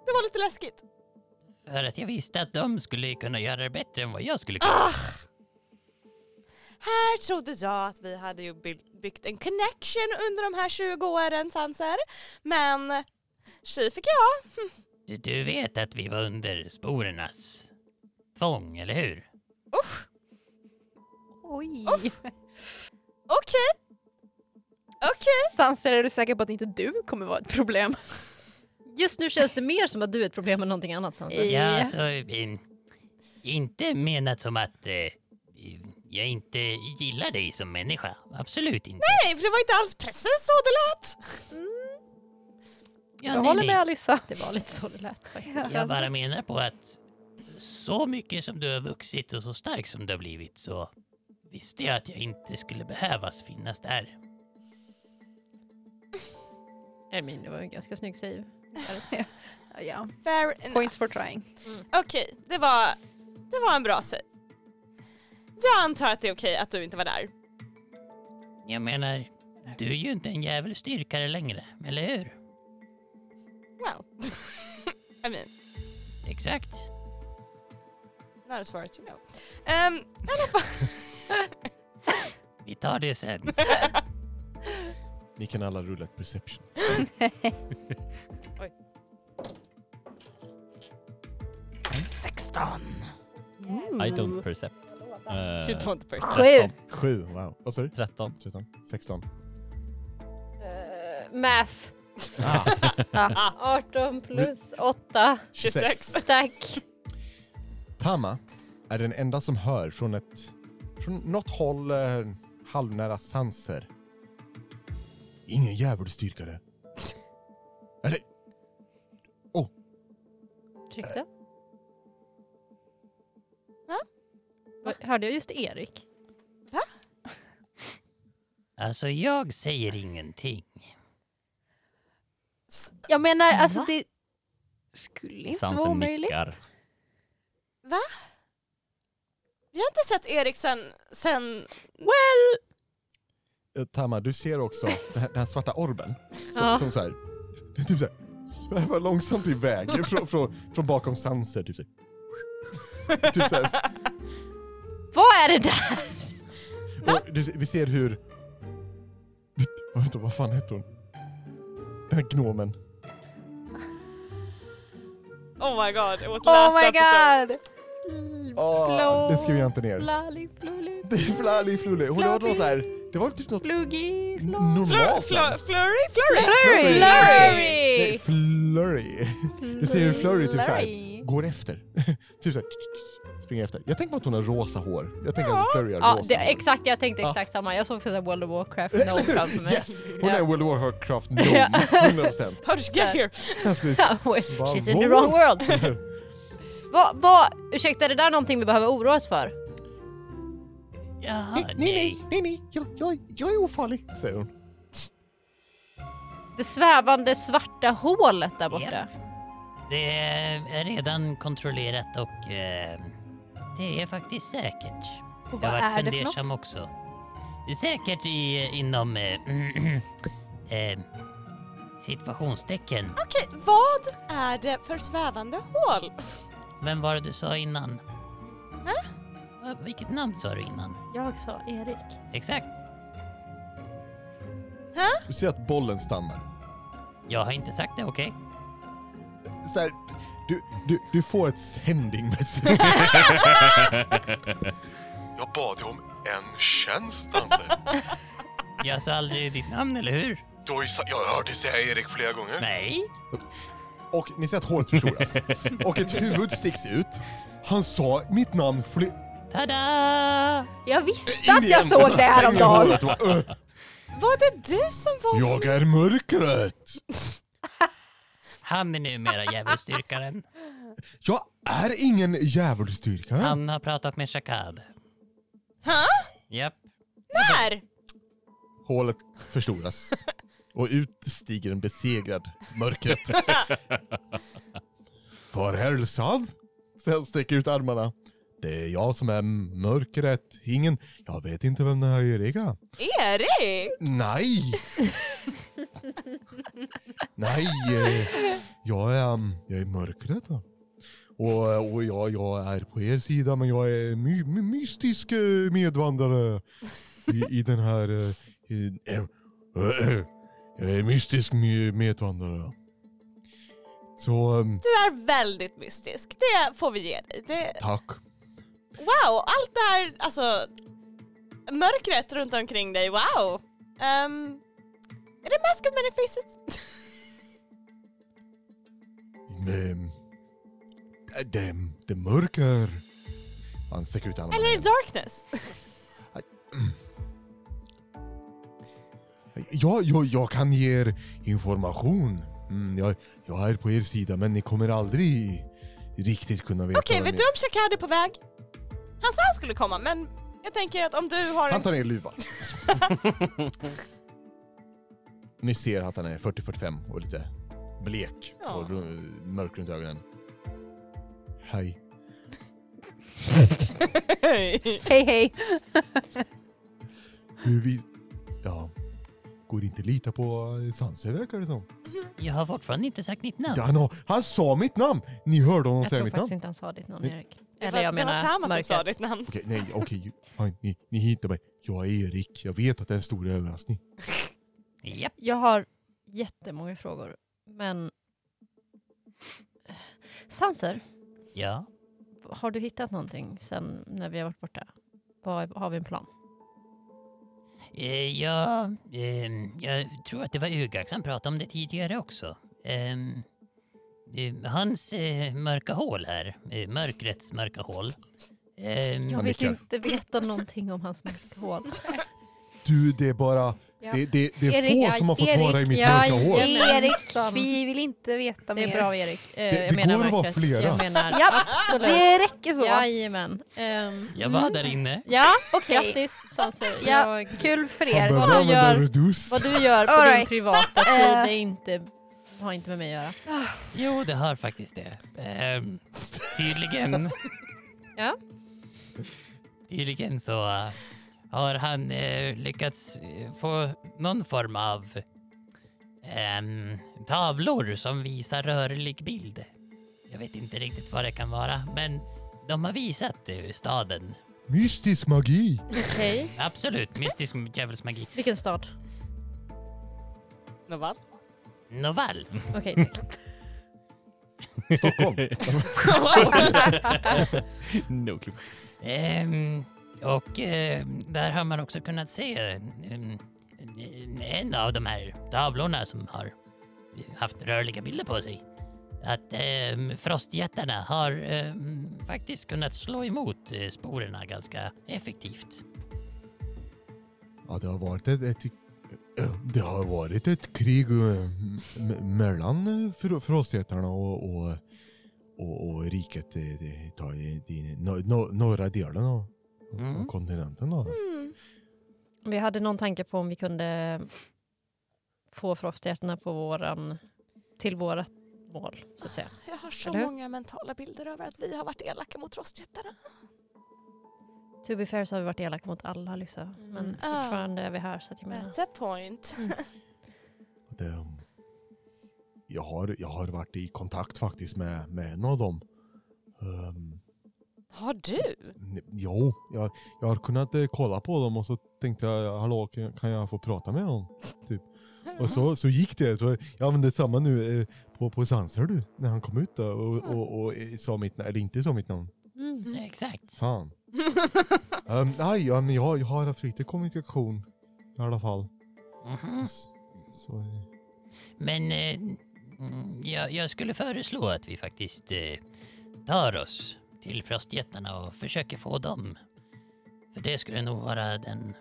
[SPEAKER 3] Det var lite läskigt.
[SPEAKER 7] För att jag visste att de skulle kunna göra det bättre än vad jag skulle kunna.
[SPEAKER 3] Ah! Här trodde jag att vi hade ju by- byggt en connection under de här 20 åren, Sanser. Men tji fick jag.
[SPEAKER 7] Du, du vet att vi var under sporernas tvång, eller hur?
[SPEAKER 3] Usch,
[SPEAKER 4] Oj.
[SPEAKER 3] okej. Okej.
[SPEAKER 4] Sanser, är du säker på att inte du kommer vara ett problem?
[SPEAKER 2] Just nu känns det mer som att du är ett problem än någonting annat sanser.
[SPEAKER 7] Ja,
[SPEAKER 4] Eh,
[SPEAKER 7] alltså, eh, inte menat som att eh, jag inte gillar dig som människa. Absolut inte.
[SPEAKER 3] Nej, för det var inte alls precis så det lät.
[SPEAKER 7] Ja,
[SPEAKER 4] jag
[SPEAKER 7] nej,
[SPEAKER 4] håller
[SPEAKER 7] nej.
[SPEAKER 4] med Alissa.
[SPEAKER 2] Det var lite så det lät faktiskt.
[SPEAKER 7] Jag bara menar på att så mycket som du har vuxit och så stark som du har blivit så visste jag att jag inte skulle behövas finnas där.
[SPEAKER 2] Ermin, det var en ganska snygg save.
[SPEAKER 4] Ja.
[SPEAKER 3] Fair enough.
[SPEAKER 4] Points for trying.
[SPEAKER 3] Okej, det var, det var en bra säg. Jag antar att det är okej att du inte var där.
[SPEAKER 7] Jag menar, du är ju inte en jävel styrkare längre, eller hur?
[SPEAKER 3] Well, I mean,
[SPEAKER 7] Exakt.
[SPEAKER 3] not as far as you know. Ehm, I alla fall.
[SPEAKER 7] Vi tar det sen.
[SPEAKER 1] Ni kan alla rulla ett perception.
[SPEAKER 4] Mm.
[SPEAKER 5] I don't percept. Eh,
[SPEAKER 3] You don't break.
[SPEAKER 5] 13.
[SPEAKER 1] Sju, wow. Vad sa du?
[SPEAKER 5] 13.
[SPEAKER 1] 13? 16?
[SPEAKER 2] Eh, math.
[SPEAKER 1] Ah,
[SPEAKER 2] Ah. 18 plus 8.
[SPEAKER 3] 26.
[SPEAKER 2] Tack.
[SPEAKER 1] Tama är den enda som hör från ett... Från något håll eh, halvnära sanser. Ingen djävulsdyrkare. Eller...
[SPEAKER 2] Ursäkta?
[SPEAKER 3] Va?
[SPEAKER 2] Va? Hörde jag just Erik?
[SPEAKER 7] Alltså, jag säger ingenting.
[SPEAKER 4] Jag menar, alltså
[SPEAKER 2] Va?
[SPEAKER 4] det skulle inte vara
[SPEAKER 5] Sansen
[SPEAKER 4] omöjligt.
[SPEAKER 5] nickar.
[SPEAKER 3] Vi har inte sett Erik sen, sen
[SPEAKER 1] Eh, Tama, du ser också den här, den här svarta orben. Som,
[SPEAKER 2] Ja.
[SPEAKER 1] som så här, den typ så här, svävar långsamt iväg från, från, från bakom sanser. Typ så här. typ så här.
[SPEAKER 2] Vad är det där?
[SPEAKER 1] Och du, vi ser hur... Vänta, vad fan heter hon? Den här gnomen.
[SPEAKER 3] Oh my god, it was last
[SPEAKER 4] Oh my
[SPEAKER 3] episode.
[SPEAKER 4] god!
[SPEAKER 1] Åh, Ah, det skrev jag inte ner.
[SPEAKER 4] Lali, fluli,
[SPEAKER 1] Det är Flally Flully. Hon hade något såhär... Det var typ något
[SPEAKER 4] flugi,
[SPEAKER 1] n-
[SPEAKER 4] flo-
[SPEAKER 1] normalt.
[SPEAKER 3] Flur, flur, flurry, flurry.
[SPEAKER 1] Flurry! Nej,
[SPEAKER 2] Flurry!
[SPEAKER 1] Flurry. Du ser hur Flurry typ såhär
[SPEAKER 4] Flurry.
[SPEAKER 1] går efter. typ såhär... Springer efter. Jag tänker på att hon har rosa hår. Jag tänker att Flurry har
[SPEAKER 2] Ja,
[SPEAKER 1] rosa
[SPEAKER 2] det,
[SPEAKER 1] hår.
[SPEAKER 2] exakt. Jag tänkte
[SPEAKER 3] Ah.
[SPEAKER 1] Ja.
[SPEAKER 2] exakt samma. Jag såg för sig World of Warcraft No framför mig.
[SPEAKER 1] Yes! Hon
[SPEAKER 2] Ja.
[SPEAKER 1] är World of Warcraft gnome. 100%.
[SPEAKER 3] How did you get here?
[SPEAKER 1] Precis.
[SPEAKER 2] Wait,
[SPEAKER 1] Vad-
[SPEAKER 2] She's in
[SPEAKER 1] vad?
[SPEAKER 2] the wrong world. Va, va, ursäkta, är det där någonting vi behöver oroa oss för?
[SPEAKER 7] Jaha,
[SPEAKER 1] Nej, nej, nej, nej, nej. Jag, jag, jag är ofarlig, säger hon.
[SPEAKER 2] Det svävande svarta hålet där borta.
[SPEAKER 7] Det är redan kontrollerat och eh, det är faktiskt säkert.
[SPEAKER 6] Och
[SPEAKER 7] Jag
[SPEAKER 6] vad
[SPEAKER 7] har varit
[SPEAKER 6] är det för något?
[SPEAKER 7] fundersam också. Det är säkert i, inom eh, eh, situationstecken.
[SPEAKER 3] Okej, vad är det för svävande hål?
[SPEAKER 7] Vem var det du sa innan? Va? Vilket namn sa du innan?
[SPEAKER 2] Jag sa Erik.
[SPEAKER 7] Exakt.
[SPEAKER 1] Du ser att bollen stannar.
[SPEAKER 7] Jag har inte sagt det, okej?
[SPEAKER 1] Så här, du, du, du får ett sending message. Jag bad ju om en tjänst, Danse.
[SPEAKER 7] Jag sa aldrig ditt namn, eller hur?
[SPEAKER 1] Jag hörde säga Erik flera gånger.
[SPEAKER 7] Nej.
[SPEAKER 1] Och ni ser att håret förstoras. Och ett huvud sticks ut. Han sa mitt namn fler...
[SPEAKER 7] Tada!
[SPEAKER 6] Jag visste att jag såg det häromdagen.
[SPEAKER 3] Var det du som var...
[SPEAKER 1] Jag är mörkret.
[SPEAKER 7] Han är numera djävulsdyrkaren.
[SPEAKER 1] Jag är ingen djävulsdyrkare.
[SPEAKER 7] Han har pratat med Shakab.
[SPEAKER 3] Hä?
[SPEAKER 7] Japp.
[SPEAKER 3] När?
[SPEAKER 1] Hålet förstoras. Och ut stiger en besegrad mörkret. Förhälsad. Sen sticker ut armarna. Det är jag som är mörkret. Ingen... Jag vet inte vem den här Erik är.
[SPEAKER 3] Erik?
[SPEAKER 1] Nej! Nej, eh, jag är, um, jag är mörkret. då. Och, och jag, jag är på er sida, men jag är my, my, mystisk eh, medvandrare i, i den här... eh, i- eh, eh, Jag är mystisk my- medvandrare. Så, um,
[SPEAKER 3] Du är väldigt mystisk, det får vi ge dig. Det...
[SPEAKER 1] tack.
[SPEAKER 3] Wow, allt det här, alltså mörkret runt omkring dig, wow. Ehm, är det mask of many faces?
[SPEAKER 1] Men, eh, det, det mörker. Han sträcker ut armarna.
[SPEAKER 3] Eller är det darkness?
[SPEAKER 1] Ja, jag, jag kan ge er information. Mm, jag, jag är på er sida, men ni kommer aldrig riktigt kunna veta
[SPEAKER 3] Okej,
[SPEAKER 1] vem
[SPEAKER 3] vet
[SPEAKER 1] jag-
[SPEAKER 3] du om Shakad är på väg? Han sa han skulle komma, men jag tänker att om du har
[SPEAKER 1] Han
[SPEAKER 3] en...
[SPEAKER 1] tar ner luvan. ni ser att han är 40-45 och lite blek
[SPEAKER 3] Ja.
[SPEAKER 1] och ru- mörk runt ögonen. Hej.
[SPEAKER 6] Hej hej.
[SPEAKER 1] Hur vi... Ja. Går inte lita på Sanse verkar det som.
[SPEAKER 7] Jag har fortfarande inte sagt ditt namn.
[SPEAKER 1] Ja, han, har- han sa mitt namn! Ni hörde honom
[SPEAKER 2] Jag
[SPEAKER 1] säga
[SPEAKER 2] tror
[SPEAKER 1] mitt namn.
[SPEAKER 2] faktiskt inte han sa ditt namn
[SPEAKER 1] Nej.
[SPEAKER 2] Erik.
[SPEAKER 3] Det
[SPEAKER 2] Eller
[SPEAKER 3] var-
[SPEAKER 2] jag
[SPEAKER 3] det var
[SPEAKER 2] menar
[SPEAKER 3] Tama som sa
[SPEAKER 2] mörkret.
[SPEAKER 3] ditt namn.
[SPEAKER 1] Okej, nej, okej. fine, ni, ni hittar mig. Jag är Erik. Jag vet att det är en stor överraskning.
[SPEAKER 7] Japp.
[SPEAKER 2] Jag har jättemånga frågor, men... Sanser,
[SPEAKER 7] Ja.
[SPEAKER 2] har du hittat någonting sen när vi har varit borta? Vad, har vi en plan?
[SPEAKER 7] Eh, ja ehm, jag tror att det var Urgax som pratade om det tidigare också. Ehm, eh, hans eh, mörka hål här, eh, mörkrets mörka hål. Ehm,
[SPEAKER 6] Mm.
[SPEAKER 2] Jag vet
[SPEAKER 1] nickar.
[SPEAKER 2] inte veta någonting om hans mörka hål.
[SPEAKER 1] Du, det är bara...
[SPEAKER 2] Ja.
[SPEAKER 1] Det, det, det är
[SPEAKER 6] Erik,
[SPEAKER 1] få
[SPEAKER 6] ja,
[SPEAKER 1] som har fått
[SPEAKER 6] Erik,
[SPEAKER 1] vara i mitt
[SPEAKER 2] ja,
[SPEAKER 1] mörka hål.
[SPEAKER 2] ja.
[SPEAKER 6] Erik,
[SPEAKER 2] Sam.
[SPEAKER 6] vi vill inte veta
[SPEAKER 2] Det
[SPEAKER 6] mer.
[SPEAKER 2] är bra Erik. Eh,
[SPEAKER 1] Det-
[SPEAKER 2] jag
[SPEAKER 1] det
[SPEAKER 2] menar
[SPEAKER 1] går att vara
[SPEAKER 2] mörkret.
[SPEAKER 1] flera.
[SPEAKER 2] Jag menar
[SPEAKER 6] Ja,
[SPEAKER 2] absolut.
[SPEAKER 6] Det räcker så.
[SPEAKER 2] Jajamän. Ehm,
[SPEAKER 7] Jag var där inne.
[SPEAKER 2] ja,
[SPEAKER 6] Okej.
[SPEAKER 2] grattis Sanser.
[SPEAKER 6] Ja.
[SPEAKER 2] Jag,
[SPEAKER 6] Kul för
[SPEAKER 1] Han
[SPEAKER 6] er.
[SPEAKER 1] behöver
[SPEAKER 2] Vad gör-
[SPEAKER 1] använda reduce.
[SPEAKER 2] vad du gör på
[SPEAKER 6] All
[SPEAKER 2] din
[SPEAKER 6] right.
[SPEAKER 2] privata tid
[SPEAKER 6] Eh.
[SPEAKER 2] det är inte, har inte med mig att göra.
[SPEAKER 7] Jo, det har faktiskt det. Ehm, tydligen.
[SPEAKER 2] Ja.
[SPEAKER 7] Tydligen så eh, har han eh, lyckats eh, få någon form av ehm, tavlor som visar rörlig bild. Jag vet inte riktigt vad det kan vara, men de har visat eh, staden.
[SPEAKER 1] Mystisk magi.
[SPEAKER 2] Okej.
[SPEAKER 7] Absolut, mystisk djävulsmagi.
[SPEAKER 2] Vilken stad?
[SPEAKER 3] Nåväl.
[SPEAKER 7] Novall.
[SPEAKER 2] Okej, tack.
[SPEAKER 1] Stockholm.
[SPEAKER 5] No clue.
[SPEAKER 7] Ehm, och ehm, där har man också kunnat se ehm, en av de här tavlorna som har haft rörliga bilder på sig. Att ehm, frostjättarna har ehm, faktiskt kunnat slå emot eh, sporerna ganska effektivt.
[SPEAKER 1] Ja, det har varit ett... ett eh, det har varit ett krig eh, m- mellan eh, fro- frostjättarna och, och, och, och riket eh, det tar i i no, no, norra delen av av
[SPEAKER 7] Mm.
[SPEAKER 3] Mm,
[SPEAKER 1] kontinenten. Då.
[SPEAKER 2] Vi hade någon tanke på om vi kunde få frosthjärtorna på våran, till vårat mål, så att säga.
[SPEAKER 3] Jag har så
[SPEAKER 2] Eller hur?
[SPEAKER 3] många mentala bilder över att vi har varit elaka mot rostjättarna.
[SPEAKER 2] To be fair så har vi varit elaka mot alla Lyssa, men
[SPEAKER 5] Mm.
[SPEAKER 3] Ah.
[SPEAKER 2] fortfarande är vi här så att jag menar.
[SPEAKER 3] That's a point.
[SPEAKER 1] Det, um, jag, har, jag har varit i kontakt faktiskt med, med en av dem. Ehm,
[SPEAKER 3] Har du?
[SPEAKER 1] ne- jo, jag, jag har kunnat eh, kolla på dem och så tänkte jag, hallå kan jag- kan jag få prata med honom? Typ. Och så, så gick det. Så jag använde samma nu eh, på, på Sans, hör du? När han kom ut då och, och, och eh, sa mitt namn, eller inte sa mitt namn.
[SPEAKER 2] Mm.
[SPEAKER 7] Exakt.
[SPEAKER 1] Fan. Ehm, nej, ja, men jag, jag har haft lite kommunikation i alla fall.
[SPEAKER 7] Mhm.
[SPEAKER 1] S- Så, är det.
[SPEAKER 7] Men eh, mm, jag, jag skulle föreslå att vi faktiskt eh, tar oss till frostjättarna och försöker få dem. För det skulle nog vara den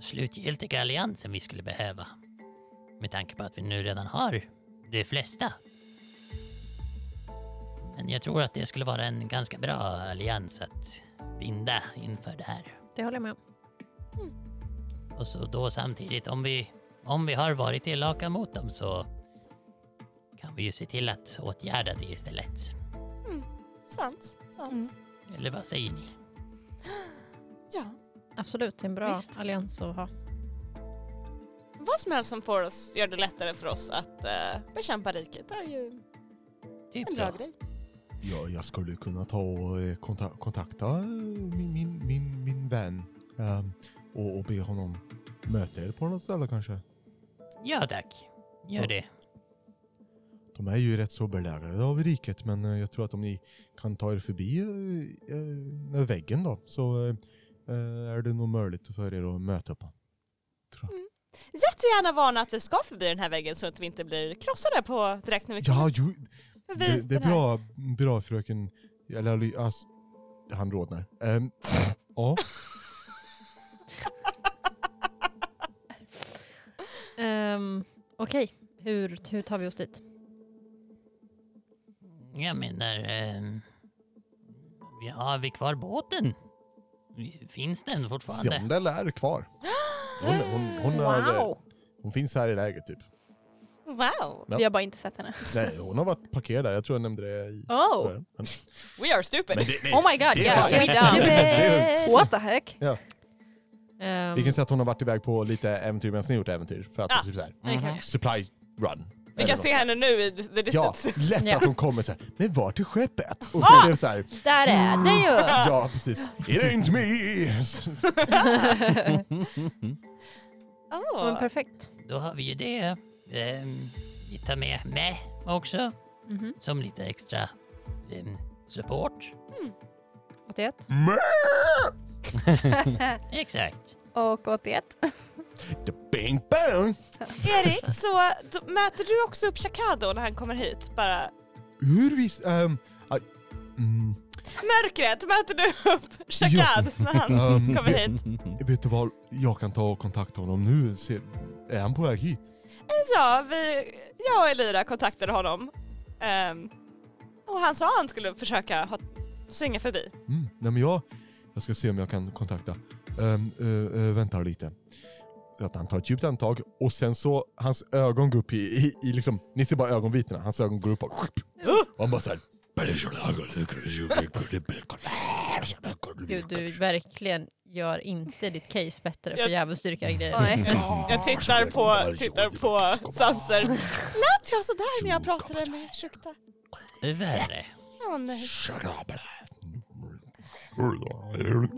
[SPEAKER 7] slutgiltiga alliansen vi skulle behöva. Med tanke på att vi nu redan har de flesta. Men jag tror att det skulle vara en ganska bra allians att binda inför det här.
[SPEAKER 2] Det håller jag med om.
[SPEAKER 7] Och så då samtidigt, om vi, om vi har varit elaka mot dem så kan vi ju se till att åtgärda det istället.
[SPEAKER 3] Sant. Sant.
[SPEAKER 7] Eller vad säger ni?
[SPEAKER 3] Ja.
[SPEAKER 2] Absolut, det är en bra
[SPEAKER 4] Visst.
[SPEAKER 2] allians att ha.
[SPEAKER 3] Vad som helst som får oss, gör det lättare för oss att eh, bekämpa riket är ju
[SPEAKER 7] Typ
[SPEAKER 3] en bra
[SPEAKER 7] så.
[SPEAKER 3] grej.
[SPEAKER 1] Ja, jag skulle kunna ta och eh, konta- kontakta eh, min, min, min, min vän ehm, och, och be honom möta er på något ställe kanske.
[SPEAKER 7] Ja tack, gör
[SPEAKER 1] Ja.
[SPEAKER 7] det.
[SPEAKER 1] De är ju rätt så belägrade av riket, men eh, jag tror att om ni kan ta er förbi eh, eh, väggen då, så eh, eh, är det nog möjligt för er att möta upp honom.
[SPEAKER 3] Jättegärna varna att vi ska förbi den här väggen så att vi inte blir krossade på direkt när vi
[SPEAKER 1] Ja, jo,
[SPEAKER 3] förbi
[SPEAKER 1] det, det är
[SPEAKER 3] den här.
[SPEAKER 1] bra, bra fröken. Eller, alltså, han rodnar. Ehm, ja,
[SPEAKER 2] Um, Okej, hur, hur tar vi oss dit?
[SPEAKER 7] Jag menar, eh, vi har vi kvar båten? Finns den fortfarande?
[SPEAKER 1] Sandel är kvar. Hon, hon, hon, är,
[SPEAKER 4] Wow!
[SPEAKER 1] hon finns här i lägret typ.
[SPEAKER 3] Wow!
[SPEAKER 1] Ja.
[SPEAKER 4] Vi har bara inte sett henne.
[SPEAKER 1] Nej, hon har varit parkerad där. Jag tror jag nämnde det i
[SPEAKER 4] Oh!
[SPEAKER 1] början. Men,
[SPEAKER 3] We are stupid!
[SPEAKER 1] men det, nej.
[SPEAKER 4] Oh my god,
[SPEAKER 1] Det
[SPEAKER 4] yeah,
[SPEAKER 1] är fan-
[SPEAKER 4] we down.
[SPEAKER 1] Det är lugnt.
[SPEAKER 4] What the heck?
[SPEAKER 2] Ehm,
[SPEAKER 1] Vi kan säga att hon har varit iväg på lite äventyr medan ni gjort äventyr. För att
[SPEAKER 3] Ja.
[SPEAKER 1] typ så här,
[SPEAKER 2] nej,
[SPEAKER 3] Mm-hmm.
[SPEAKER 2] kanske.
[SPEAKER 1] supply run.
[SPEAKER 3] vi kan se henne nu i the
[SPEAKER 1] Ja,
[SPEAKER 3] distance.
[SPEAKER 1] lätt
[SPEAKER 2] Ja.
[SPEAKER 1] att hon kommer så här, men vart är skeppet? Och så är det så här,
[SPEAKER 2] Där är det ju!
[SPEAKER 1] ja precis, it ain't me!
[SPEAKER 2] Men
[SPEAKER 3] Oh.
[SPEAKER 2] perfekt.
[SPEAKER 7] Då har vi ju det. Eh, vi tar med med också,
[SPEAKER 2] Mhm.
[SPEAKER 7] som lite extra eh, support.
[SPEAKER 2] 81.
[SPEAKER 7] Exakt.
[SPEAKER 4] Och 81.
[SPEAKER 1] The bing bang!
[SPEAKER 3] Erik, så då, möter du också upp Chakado när han kommer hit? Bara,
[SPEAKER 1] Hur vis... ehm, aj, mm,
[SPEAKER 3] mörkret, möter du upp Chakad när han
[SPEAKER 1] ehm,
[SPEAKER 3] kommer
[SPEAKER 1] vet-
[SPEAKER 3] hit?
[SPEAKER 1] Vet du vad, jag kan ta och kontakta honom nu. Se, är han på väg hit?
[SPEAKER 3] Ja, vi, jag och Elira kontaktade honom. Ehm, och han sa att han skulle försöka ha, svinga förbi.
[SPEAKER 1] Mm. Nej, men jag, jag ska se om jag kan kontakta. Um, vänta lite. Så att han tar ett djupt andetag och sen så hans ögon går upp i, i, i liksom, ni ser bara ögonvitorna, hans ögon går upp och, och han bara såhär
[SPEAKER 2] Gud, du verkligen gör inte ditt case bättre för
[SPEAKER 3] Jag-
[SPEAKER 2] djävulsdyrkare grejer.
[SPEAKER 4] Nej.
[SPEAKER 3] Jag tittar på, tittar på Sanser. Lät jag sådär när jag pratade med Shukta?
[SPEAKER 7] Värre.
[SPEAKER 3] Ja, nej.
[SPEAKER 2] Okej.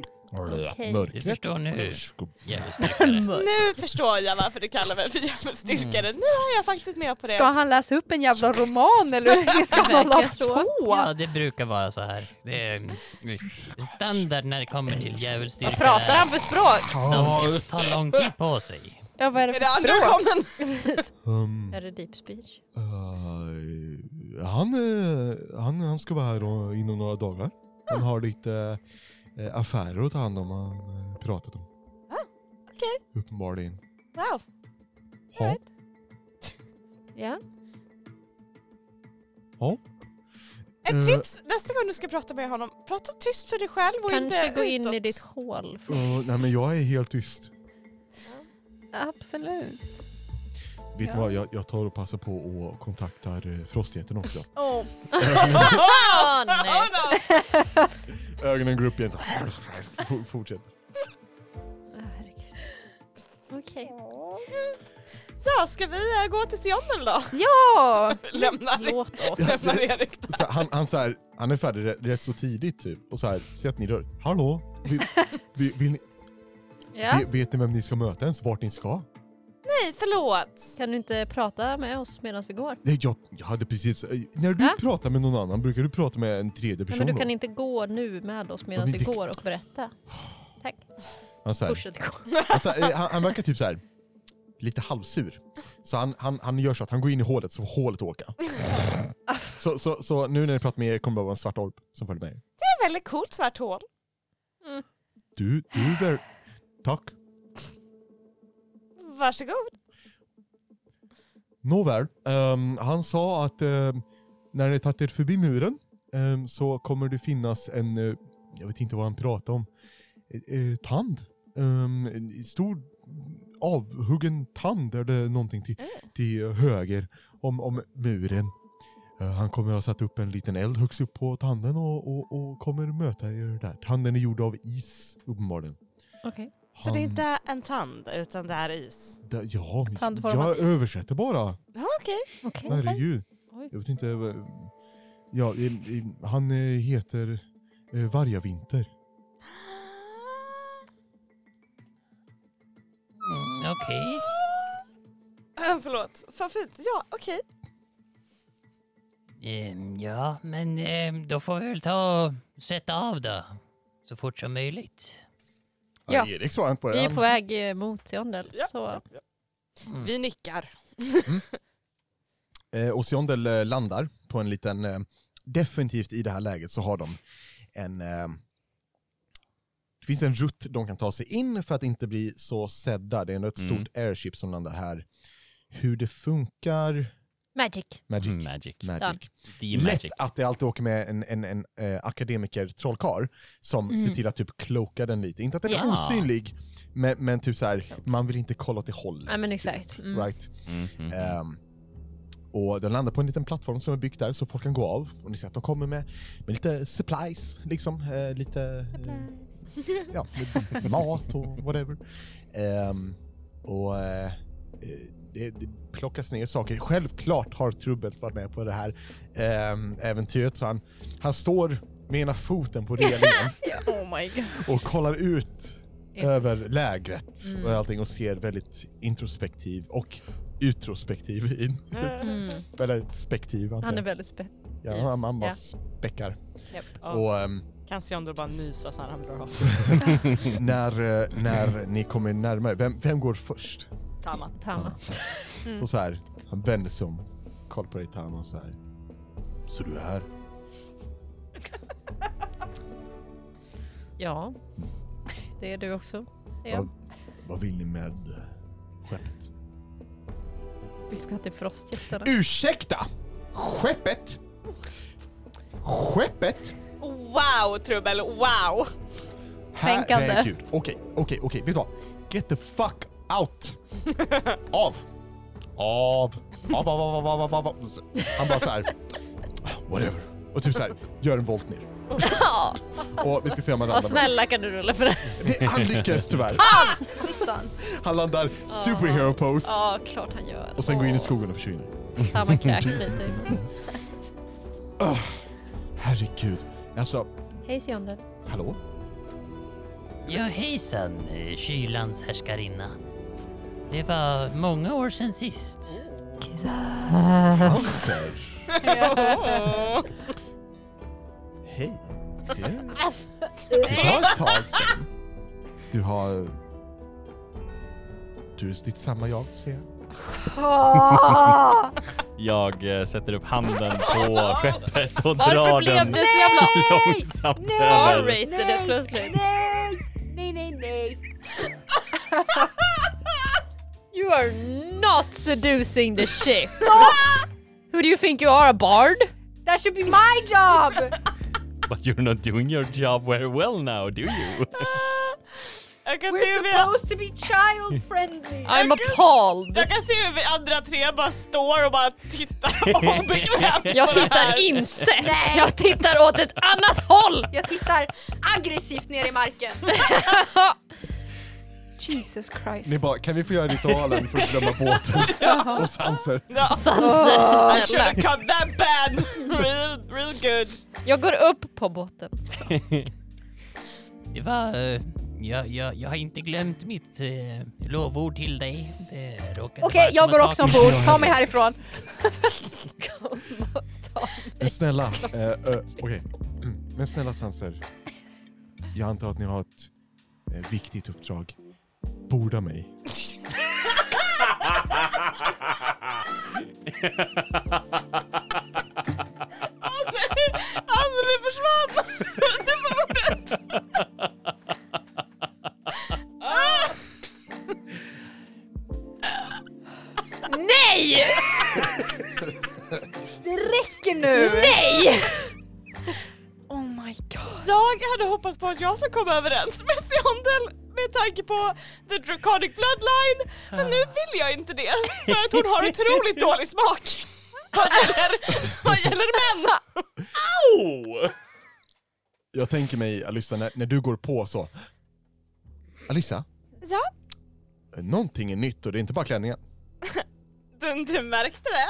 [SPEAKER 7] Du
[SPEAKER 1] Mörkret.
[SPEAKER 7] förstår nu.
[SPEAKER 3] Nu förstår jag varför du kallar mig för djävulsdyrkare. Nu är jag faktiskt med på det.
[SPEAKER 4] Ska han läsa upp en jävla roman eller ska han hålla på?
[SPEAKER 7] Ja, det brukar vara så här. Det är mm, standard när det kommer till djävulsdyrkare.
[SPEAKER 4] Pratar han för språk?
[SPEAKER 7] De tar lång tid på sig.
[SPEAKER 4] Ja, vad är det
[SPEAKER 3] Är det
[SPEAKER 4] för språk?
[SPEAKER 3] undercommon?
[SPEAKER 1] Um,
[SPEAKER 2] Är det deep speech?
[SPEAKER 1] eh, han, eh, han, han ska vara här och, inom några dagar. Han har lite eh, affärer att ta hand om, han eh, pratat om.
[SPEAKER 3] okej.
[SPEAKER 1] Uppenbarligen.
[SPEAKER 3] Wow.
[SPEAKER 1] Ja.
[SPEAKER 2] Ja.
[SPEAKER 1] ja.
[SPEAKER 3] Ett
[SPEAKER 1] Eh.
[SPEAKER 3] tips nästa gång du ska prata med honom, prata tyst för dig själv och
[SPEAKER 2] Kanske
[SPEAKER 3] inte
[SPEAKER 2] gå in
[SPEAKER 3] utåt.
[SPEAKER 2] i ditt hål.
[SPEAKER 1] Mm. Eh, nej men jag är helt tyst.
[SPEAKER 4] Absolut.
[SPEAKER 1] Vet du vad, jag, jag tar och passar på och kontaktar eh, frostjätten också.
[SPEAKER 6] Oh.
[SPEAKER 2] Åh,
[SPEAKER 3] Ah!
[SPEAKER 2] nej.
[SPEAKER 1] Ögonen går upp igen. Så. F- Fortsätt.
[SPEAKER 2] Åh, herregud.
[SPEAKER 6] Okej.
[SPEAKER 3] Så, ska vi eh, gå till Seattle då?
[SPEAKER 6] Ja!
[SPEAKER 3] Lämna
[SPEAKER 2] Låt oss.
[SPEAKER 3] lämnar Erik där.
[SPEAKER 1] Så han, han, så här, han är färdig rätt, rätt så tidigt typ. Och så här, ser att ni rör Hallå? Vill, vill, vill ni,
[SPEAKER 2] Ja.
[SPEAKER 1] ve- Vet ni vem ni ska möta ens? Vart ni ska?
[SPEAKER 3] Nej, förlåt.
[SPEAKER 2] Kan du inte prata med oss medan vi går?
[SPEAKER 1] Nej, jag, jag hade precis... eh, När du
[SPEAKER 2] Va?
[SPEAKER 1] pratar med någon annan, brukar du prata med en tredje
[SPEAKER 2] Nej,
[SPEAKER 1] person
[SPEAKER 2] men du
[SPEAKER 1] då?
[SPEAKER 2] kan inte gå nu med oss medan
[SPEAKER 1] men
[SPEAKER 2] vi
[SPEAKER 1] det-
[SPEAKER 2] går och berätta. Tack.
[SPEAKER 1] han, så här,
[SPEAKER 2] Fortsätt gå.
[SPEAKER 1] han, så här, eh, han, han verkar typ så här lite halvsur. Så han, han, han gör så att han går in i hålet så får hålet åka. Så, så, så nu när ni pratar med er kommer det bara vara en svart orb som följer med er.
[SPEAKER 3] Det är väldigt coolt svart hål.
[SPEAKER 1] Du, du är väl... Tack.
[SPEAKER 3] Varsågod.
[SPEAKER 1] Nåväl, ehm, han sa att ehm, när ni tagit er förbi muren ehm, så kommer det finnas en, eh, jag vet inte vad han pratade om, eh, eh, tand. Ehm, en stor avhuggen tand är det någonting till,
[SPEAKER 3] Mm.
[SPEAKER 1] till höger om, om muren. Eh, han kommer ha satt upp en liten eld högst upp på tanden och, och, och kommer möta er där. Tanden är gjord av is uppenbarligen.
[SPEAKER 2] Okej.
[SPEAKER 3] Så det är
[SPEAKER 1] Han-
[SPEAKER 3] inte en tand, utan det är is.
[SPEAKER 1] där- Ja,
[SPEAKER 4] Tandformad
[SPEAKER 1] jag
[SPEAKER 4] is.
[SPEAKER 1] översätter bara.
[SPEAKER 3] Ja, okej.
[SPEAKER 2] Okej.
[SPEAKER 1] Herregud.
[SPEAKER 2] Oj.
[SPEAKER 1] Jag vet inte. eh, vad- Ja, i- i- han eh, heter eh, Vargavinter.
[SPEAKER 7] Mm, Okej.
[SPEAKER 3] Äh, Förlåt, vad fint. Ja, okej.
[SPEAKER 7] Ehm, Ja, men ehm, då får vi väl ta och sätta av då. Så fort som möjligt.
[SPEAKER 2] Ja.
[SPEAKER 1] Erik svarar inte på
[SPEAKER 2] Vi är på väg eh, mot Seondel.
[SPEAKER 3] Ja,
[SPEAKER 2] Så
[SPEAKER 3] ja, ja.
[SPEAKER 7] Mm.
[SPEAKER 3] Vi nickar.
[SPEAKER 1] Eh, och Siondel eh, landar på en liten... Eh, definitivt i det här läget så har de en... Eh, det finns en rutt de kan ta sig in för att inte bli så sedda. Det är ändå ett
[SPEAKER 8] Mm.
[SPEAKER 1] stort airship som landar här. Hur det funkar...
[SPEAKER 2] magic.
[SPEAKER 1] Magic.
[SPEAKER 8] Magic.
[SPEAKER 1] Magic.
[SPEAKER 8] The
[SPEAKER 1] lätt
[SPEAKER 8] magic.
[SPEAKER 1] att det alltid åker med en, en, en eh, akademiker trollkar som ser till att typ kloka den lite. Inte att den är
[SPEAKER 8] Ja.
[SPEAKER 1] osynlig, men, men typ så här, man vill inte kolla åt det hållet.
[SPEAKER 2] Ja, men
[SPEAKER 1] typ.
[SPEAKER 2] exakt. Mm.
[SPEAKER 1] Right?
[SPEAKER 8] Mm, mm, mm.
[SPEAKER 1] Ehm, och den landar på en liten plattform som är byggd där så folk kan gå av. Och ni ser att de kommer med, med lite supplies, liksom. Eh, lite eh, ja, lite mat och whatever. Ehm, och eh, eh, det, det plockas ner saker. Självklart har Trubbelt varit med på det här ehm, äventyret. Så han, han står med ena foten på relingen
[SPEAKER 6] Oh my god.
[SPEAKER 1] och kollar ut
[SPEAKER 2] Yes.
[SPEAKER 1] över lägret
[SPEAKER 2] Mm.
[SPEAKER 1] och allting och ser väldigt introspektiv och utrospektiv in.
[SPEAKER 2] Mm.
[SPEAKER 1] Eller spektiv. antar
[SPEAKER 2] Han är
[SPEAKER 1] jag.
[SPEAKER 2] väldigt spänd.
[SPEAKER 1] ja, han, han bara
[SPEAKER 2] ja.
[SPEAKER 1] späckar.
[SPEAKER 3] Och
[SPEAKER 1] Och, ehm,
[SPEAKER 3] kan Seondor bara nysa så han ramlar av.
[SPEAKER 1] när, eh, när
[SPEAKER 2] Mm.
[SPEAKER 1] ni kommer närmare, vem, vem går först?
[SPEAKER 3] Tama.
[SPEAKER 2] Tama. Mm.
[SPEAKER 1] Så så här, han vänder sig om, kollar på dig Tama och så här. Så du är här?
[SPEAKER 2] Ja. Det är du också. ser jag.
[SPEAKER 1] Vad, vad vill ni med eh, skeppet?
[SPEAKER 2] Vi ska till frostjättarna.
[SPEAKER 1] Ursäkta! Skeppet? Skeppet?
[SPEAKER 3] Wow, Trubbel, wow!
[SPEAKER 4] Kränkande.
[SPEAKER 1] Herregud. Okej, okej, okej. Vet du vad? Get the fuck out! Av! Av! Av, av, av, av, av, av, av. Han bara såhär... Whatever. Och typ såhär, gör en volt ner. Och vi ska se om han
[SPEAKER 2] Vad
[SPEAKER 1] ramlar. bra.
[SPEAKER 2] snälla kan du rulla för det?
[SPEAKER 1] Det, han lyckas tyvärr. Han landar superhero pose.
[SPEAKER 2] Ja, klart han gör.
[SPEAKER 1] Och sen går in i skogen och försvinner.
[SPEAKER 2] Tama kräks lite.
[SPEAKER 1] Herregud. Alltså,
[SPEAKER 2] Hej Seondel.
[SPEAKER 1] hallå?
[SPEAKER 7] Ja hejsan, eh, kylans härskarinna. Det var många år sedan sist.
[SPEAKER 1] Cancer.
[SPEAKER 3] Åh.
[SPEAKER 1] Hej. Det, det var ett tag sedan. Du har... Du är ditt samma jag, ser jag.
[SPEAKER 8] Jag eh, sätter upp handen på skeppet och
[SPEAKER 2] Varför
[SPEAKER 8] drar
[SPEAKER 2] blev
[SPEAKER 8] den
[SPEAKER 2] det så jävla
[SPEAKER 8] långsamt över.
[SPEAKER 2] R-rated helt plötsligt?
[SPEAKER 6] Nej, nej, nej.
[SPEAKER 2] You are not seducing the ship! Who do you think you are, a bard?
[SPEAKER 6] That should be my job!
[SPEAKER 8] But you're not doing your job very well now, do you?
[SPEAKER 3] Jag kan, se
[SPEAKER 6] We're
[SPEAKER 3] hur vi,
[SPEAKER 6] supposed to be child friendly.
[SPEAKER 2] I'm appalled.
[SPEAKER 3] jag kan se hur vi andra tre bara står och bara tittar obekvämt på
[SPEAKER 2] Jag
[SPEAKER 3] det här.
[SPEAKER 2] tittar inte. Jag tittar åt ett annat håll.
[SPEAKER 6] Jag tittar aggressivt ner i marken. Jesus Christ.
[SPEAKER 1] Ni bara, kan vi få göra ritualen för att glömma båten och sanser?
[SPEAKER 3] Ja.
[SPEAKER 2] Sanser,
[SPEAKER 3] I should
[SPEAKER 2] snälla.
[SPEAKER 3] have cut that bad! Real, real good.
[SPEAKER 2] Jag går upp på båten.
[SPEAKER 7] Det var... eh, jag, jag, jag har inte glömt mitt eh, lovord till dig. Det råkade
[SPEAKER 6] Okej,
[SPEAKER 7] bara
[SPEAKER 6] jag
[SPEAKER 7] komma
[SPEAKER 6] går också
[SPEAKER 7] saker-
[SPEAKER 6] ombord. Ta mig härifrån.
[SPEAKER 1] Men snälla, eh, eh, okej. Mm. Men snälla sanser. Jag antar att ni har ett eh, viktigt uppdrag. Borda mig.
[SPEAKER 3] Anneli försvann! Det var ordet!
[SPEAKER 2] Nej!
[SPEAKER 6] Det räcker nu!
[SPEAKER 2] Nej!
[SPEAKER 6] Oh my god.
[SPEAKER 3] Jag hade hoppats på att jag skulle komma överens med Seondel med tanke på the draconic bloodline, men nu vill jag inte det för att hon har otroligt dålig smak. Vad gäller, vad gäller män!
[SPEAKER 1] Jag tänker mig, Alyssa, när, när du går på så. Alyssa?
[SPEAKER 3] Ja?
[SPEAKER 1] eh, Någonting är nytt och det är inte bara klänningen.
[SPEAKER 3] Du, du märkte det?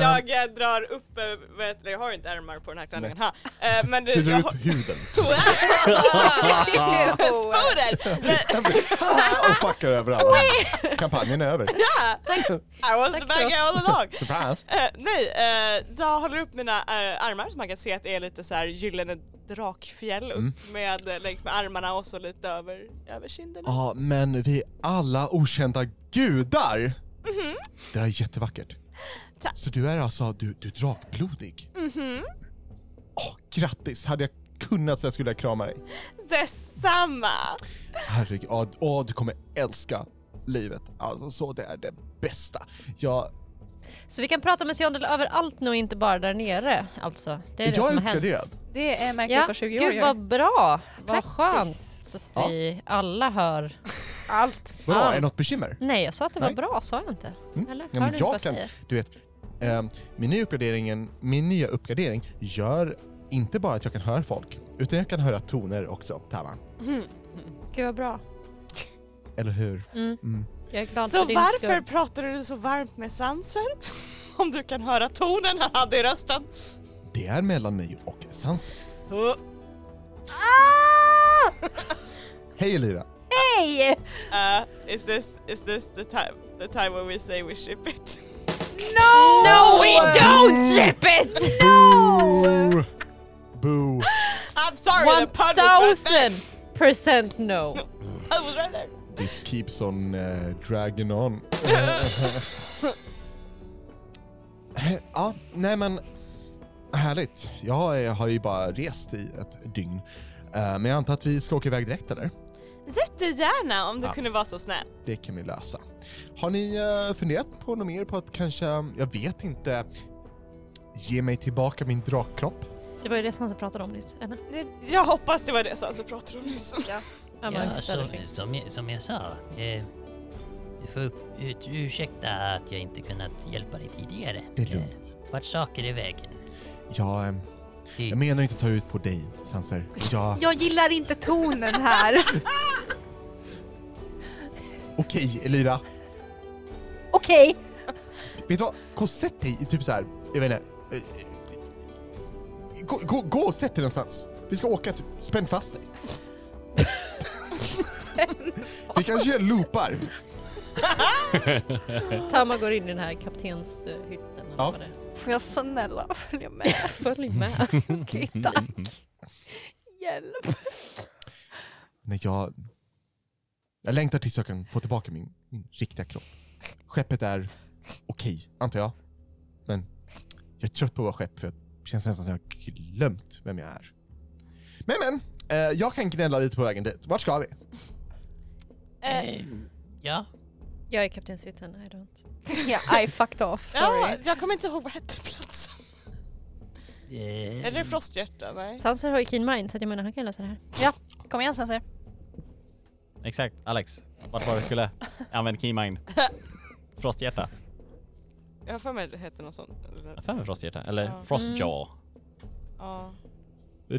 [SPEAKER 3] Jag
[SPEAKER 1] Ehm.
[SPEAKER 3] eh, drar upp, eh, vet, jag har inte ärmar på den här klänningen, ha. Eh, men du,
[SPEAKER 1] Du drar
[SPEAKER 3] jag har-
[SPEAKER 1] upp huden.
[SPEAKER 3] Sporer! Nej,
[SPEAKER 1] och fuckar över alla. Kampanjen är över.
[SPEAKER 3] Ja! I was the bad guy all along!
[SPEAKER 1] Surprise!
[SPEAKER 3] Eh, nej, eh, jag håller upp mina eh, armar så man kan se att det är lite så här gyllene drakfjäll upp
[SPEAKER 1] Mm.
[SPEAKER 3] med, eh, längs med armarna och så lite över, över kinderna.
[SPEAKER 1] Ja, men vi är alla okända gudar! Det där är jättevackert.
[SPEAKER 3] Mm-hmm. Tack. Mm-hmm.
[SPEAKER 1] Så du är alltså, du, du är drakblodig? Mhm. Åh, grattis! Hade jag kunnat så skulle jag krama dig.
[SPEAKER 3] Detsamma!
[SPEAKER 1] Herregud, ja, d- åh, du kommer älska livet. Alltså så, det är det bästa. Jag,
[SPEAKER 2] Så vi kan prata med Seondel överallt nu och inte bara där nere. Alltså, det är det
[SPEAKER 1] jag
[SPEAKER 2] som
[SPEAKER 1] är
[SPEAKER 2] har hänt.
[SPEAKER 1] uppgraderad.
[SPEAKER 6] Det är märkligt
[SPEAKER 2] Ja,
[SPEAKER 6] vad 20 år
[SPEAKER 2] gud
[SPEAKER 6] gör.
[SPEAKER 2] vad bra. Vad
[SPEAKER 6] Praktiskt.
[SPEAKER 2] skönt. Så att
[SPEAKER 1] Ja.
[SPEAKER 2] vi alla hör.
[SPEAKER 6] Allt.
[SPEAKER 1] Vadå,
[SPEAKER 2] Ja.
[SPEAKER 1] är det något bekymmer?
[SPEAKER 2] Nej, jag sa att det
[SPEAKER 1] Nej. Mm.
[SPEAKER 2] var bra, sa jag inte? Eller? Hör
[SPEAKER 1] Ja,
[SPEAKER 2] du
[SPEAKER 1] men
[SPEAKER 2] inte vad
[SPEAKER 1] jag
[SPEAKER 2] jag
[SPEAKER 1] kan,
[SPEAKER 2] säger?
[SPEAKER 1] du vet, ehm, min, nya uppgraderingen, min nya uppgradering gör inte bara att jag kan höra folk, utan jag kan höra toner också, Tama.
[SPEAKER 2] Gud vad bra.
[SPEAKER 1] Eller hur?
[SPEAKER 2] Mm.
[SPEAKER 1] Mm.
[SPEAKER 2] Jag är glad
[SPEAKER 3] Så
[SPEAKER 2] för din
[SPEAKER 3] varför
[SPEAKER 2] skull.
[SPEAKER 3] pratar du så varmt med Sanser? Om du kan höra tonen han hade i rösten.
[SPEAKER 1] Det är mellan mig och Sanser.
[SPEAKER 3] Oh.
[SPEAKER 1] Hej Elira!
[SPEAKER 6] Hej!
[SPEAKER 3] Uh, is this, is this the time, the time when we say we ship it?
[SPEAKER 2] No we don't ship it!
[SPEAKER 1] Boo! Boo!
[SPEAKER 3] I'm sorry, the pun was right there.
[SPEAKER 2] 1000 percent no.
[SPEAKER 3] I was right there.
[SPEAKER 1] This keeps on eh, dragging on. Eh, ja, nej men härligt. Jag eh, har ju bara rest i ett dygn. Eh, men jag antar att vi ska åka iväg direkt eller?
[SPEAKER 3] Jättegärna om du
[SPEAKER 1] Ja.
[SPEAKER 3] kunde vara så snäll.
[SPEAKER 1] Det kan vi lösa. Har ni eh, funderat på något mer på att kanske, jag vet inte, ge mig tillbaka min drakkropp?
[SPEAKER 2] Det var ju det Sansa pratade om nyss. Eller?
[SPEAKER 3] Det- Jag hoppas det var det Sanser pratade om Eh, nyss.
[SPEAKER 2] Ja, men
[SPEAKER 7] Ja,
[SPEAKER 2] visst är det
[SPEAKER 7] som,
[SPEAKER 2] fint.
[SPEAKER 7] som, jag, som jag sa. Eh, du får upp, ut, ursäkta att jag inte kunnat hjälpa dig tidigare.
[SPEAKER 1] Det är lugnt.
[SPEAKER 7] Eh, vart saker i vägen.
[SPEAKER 1] Jag, eh,
[SPEAKER 7] Ty-
[SPEAKER 1] jag menar inte att ta ut på dig, Sanser. Jag,
[SPEAKER 6] Jag gillar inte tonen här.
[SPEAKER 1] Okej, Elira.
[SPEAKER 6] Okej.
[SPEAKER 1] Vet du vad? Gå och sätt dig i typ så här. jag vet inte. eh, Gå, gå, gå och sätt dig någonstans. Vi ska åka, typ. spänn fast dig. Vi kanske gör loopar.
[SPEAKER 2] Tama går in i den här kaptenshytten. eller
[SPEAKER 1] Ja.
[SPEAKER 2] vad det är.
[SPEAKER 6] Får jag snälla följa med?
[SPEAKER 2] Följ med.
[SPEAKER 6] Okej, tack. Hjälp.
[SPEAKER 1] Nej, jag... Jag längtar tills jag kan få tillbaka min, min riktiga kropp. Skeppet är okej, antar jag. Men jag är trött på att vara skepp för jag känns nästan som jag har glömt vem jag är. Men men, eh, jag kan gnälla lite på vägen dit. Vart ska vi?
[SPEAKER 7] eh, ja,
[SPEAKER 2] Jag är kaptenshytten, I don't.
[SPEAKER 6] Ja, I fucked off.
[SPEAKER 3] Ja,
[SPEAKER 6] Sorry.
[SPEAKER 3] jag kommer inte ihåg vad hette platsen.
[SPEAKER 7] eh,
[SPEAKER 3] Är det Frosthjärta? Nej.
[SPEAKER 2] Sanser har ju keen mind så att jag menar han kan lösa det här.
[SPEAKER 6] Kom igen Sanser.
[SPEAKER 5] Exakt, Alex. Vart var vi skulle? Använd keymind. Frosthjärta.
[SPEAKER 3] Jag har för mig det hette något sånt. Eller,
[SPEAKER 5] Jag har för mig frosthjärta. Eller
[SPEAKER 3] Ja.
[SPEAKER 2] Mm.
[SPEAKER 5] frostjaw.
[SPEAKER 3] ja.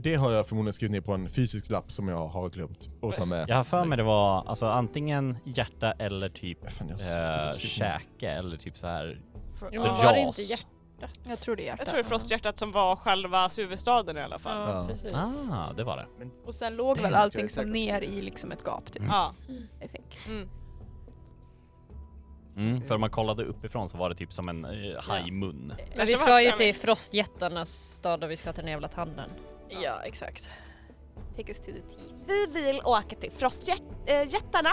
[SPEAKER 1] Det har jag förmodligen skrivit ner på en fysisk lapp som jag har glömt att ta med.
[SPEAKER 5] Jag har för mig det var alltså antingen hjärta eller typ
[SPEAKER 1] Fan, jag-
[SPEAKER 5] eh, käke eller typ så här.
[SPEAKER 3] Fro-
[SPEAKER 5] The
[SPEAKER 2] men
[SPEAKER 3] ja.
[SPEAKER 2] var det inte
[SPEAKER 5] jaws.
[SPEAKER 2] hjärta?
[SPEAKER 6] Jag tror det är hjärtat.
[SPEAKER 3] Jag tror det är Frosthjärtat som var själva huvudstaden i alla fall.
[SPEAKER 2] Ja,
[SPEAKER 1] Ja.
[SPEAKER 2] precis.
[SPEAKER 5] Ah, det var det.
[SPEAKER 6] Och sen låg väl
[SPEAKER 1] Det tror
[SPEAKER 6] allting
[SPEAKER 1] jag
[SPEAKER 6] som
[SPEAKER 1] säkert.
[SPEAKER 6] ner i liksom ett gap typ.
[SPEAKER 3] Ja.
[SPEAKER 6] I think.
[SPEAKER 3] Mm.
[SPEAKER 5] Mm, för om man kollade uppifrån så var det typ som en eh, hajmun.
[SPEAKER 2] Men vi ska ju till frostjättarnas stad och vi ska till den jävla tanden.
[SPEAKER 6] Ja, exakt. Take us to the tea.
[SPEAKER 3] Vi vill åka till eh, Frostjättarna.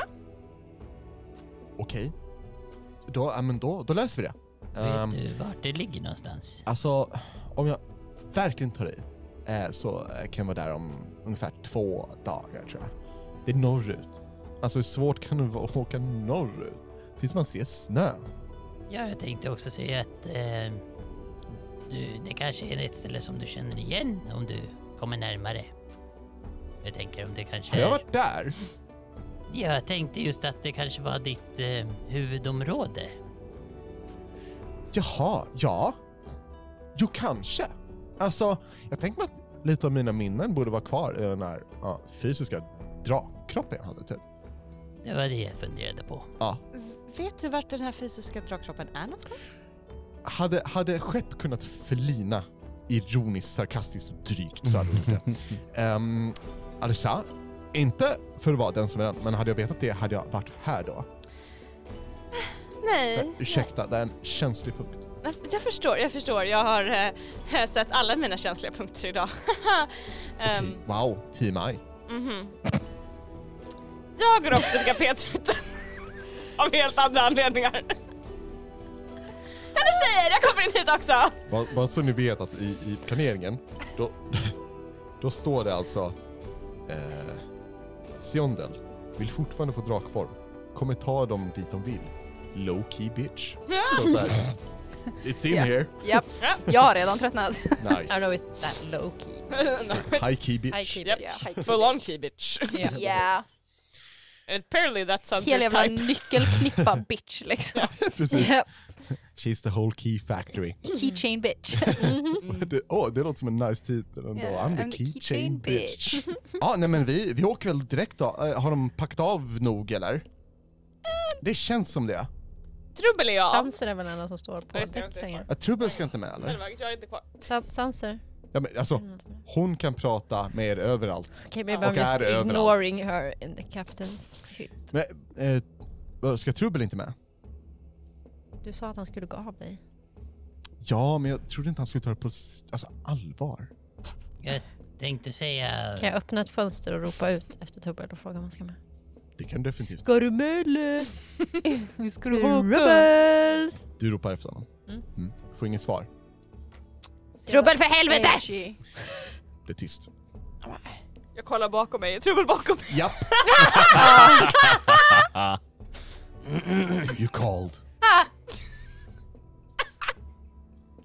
[SPEAKER 1] Okej. Då, ja, men då, då löser vi det. Ehm,
[SPEAKER 7] Vet du vart det ligger någonstans?
[SPEAKER 1] Alltså, om jag verkligen tar i eh, så eh, kan jag vara där om ungefär två dagar tror jag. Det är norrut. Alltså hur svårt kan det vara att åka norrut? Tills man ser snö.
[SPEAKER 7] Ja, jag tänkte också säga att eh, du, det kanske är ett ställe som du känner igen om du kommer närmare. Jag tänker om det kanske
[SPEAKER 1] Har jag
[SPEAKER 7] är...
[SPEAKER 1] varit där?
[SPEAKER 7] Ja, jag tänkte just att det kanske var ditt eh, huvudområde.
[SPEAKER 1] Jaha, ja. Jo, kanske. Alltså, jag tänker mig att lite av mina minnen borde vara kvar i den här ja, fysiska drakkroppen jag hade typ.
[SPEAKER 7] Det var det jag funderade på.
[SPEAKER 1] Ja.
[SPEAKER 3] Vet du vart den här fysiska dragkroppen är någonstans?
[SPEAKER 1] Hade, hade skepp kunnat förlina ironiskt, sarkastiskt och drygt så hade hon gjort det. Um, Alissa, inte för att vara den som är den, men hade jag vetat det hade jag varit här då.
[SPEAKER 3] Nej,
[SPEAKER 1] Men, ursäkta, det är en känslig punkt.
[SPEAKER 3] jag förstår, jag förstår. Jag har eh, sett alla mina känsliga punkter idag. Ehm,
[SPEAKER 1] Ti- wow, Team I.
[SPEAKER 3] mhm. Jag går också till kapethytten. Av helt andra anledningar. Ja, du säger jag kommer in hit också!
[SPEAKER 1] Bara, bara så ni vet att i, i planeringen, då, då står det alltså eh, Siondel vill fortfarande få drakform. Kommer ta dem dit de vill. Low key bitch. Så, så här, It's in
[SPEAKER 6] Ja.
[SPEAKER 1] here.
[SPEAKER 6] Japp, jag har redan tröttnat.
[SPEAKER 2] I don't know,
[SPEAKER 1] Nice.
[SPEAKER 2] it's that low key.
[SPEAKER 1] High key bitch.
[SPEAKER 2] High key.
[SPEAKER 3] Japp.
[SPEAKER 2] bitch.
[SPEAKER 3] Full on key bitch.
[SPEAKER 2] Yeah.
[SPEAKER 6] Yeah.
[SPEAKER 3] Apparently that's
[SPEAKER 6] Hel
[SPEAKER 3] Sansers
[SPEAKER 6] jävla
[SPEAKER 3] type.
[SPEAKER 6] nyckelknippa bitch liksom.
[SPEAKER 1] Precis.
[SPEAKER 6] Japp.
[SPEAKER 1] She's the whole key factory.
[SPEAKER 6] Keychain bitch.
[SPEAKER 1] det, åh, det låter som en nice titel ändå.
[SPEAKER 6] Yeah,
[SPEAKER 1] Mm. I'm the keychain, bitch. ja, nej men vi, vi åker väl direkt då. Eh, Har de packat av nog eller? Det känns som det.
[SPEAKER 3] Trubbel är jag.
[SPEAKER 2] Sanser är väl den enda som står på
[SPEAKER 3] Nej, det är
[SPEAKER 2] däck
[SPEAKER 3] inte
[SPEAKER 2] längre.
[SPEAKER 1] Ja, Eh, Trubbel ska inte med
[SPEAKER 3] Men
[SPEAKER 1] eller?
[SPEAKER 3] Marcus, jag är inte kvar.
[SPEAKER 2] San- Sanser? Mm.
[SPEAKER 1] Ja, men, alltså, hon kan prata med er överallt.
[SPEAKER 2] Okej, maybe
[SPEAKER 1] Och
[SPEAKER 2] I'm just
[SPEAKER 1] är överallt.
[SPEAKER 2] ignoring her in the captain's hytt.
[SPEAKER 1] Men, eh, vad, ska Trubbel inte med?
[SPEAKER 2] Du sa att han skulle gå av dig.
[SPEAKER 1] Ja, men jag trodde inte han skulle ta det på s- alltså, allvar.
[SPEAKER 7] Jag tänkte säga...
[SPEAKER 2] Kan jag öppna ett fönster och ropa ut efter Tubbel och fråga om han ska med?
[SPEAKER 1] Det kan du definitivt.
[SPEAKER 2] Ska du med eller?
[SPEAKER 6] Ska du
[SPEAKER 2] Trubbel!
[SPEAKER 1] Du ropar efter honom.
[SPEAKER 2] Mm.
[SPEAKER 1] Mm. Får inget svar.
[SPEAKER 2] Trubbel för helvete!
[SPEAKER 6] She.
[SPEAKER 1] Det är tyst.
[SPEAKER 3] Jag kollar bakom mig. Trubbel bakom mig.
[SPEAKER 1] Japp. you called.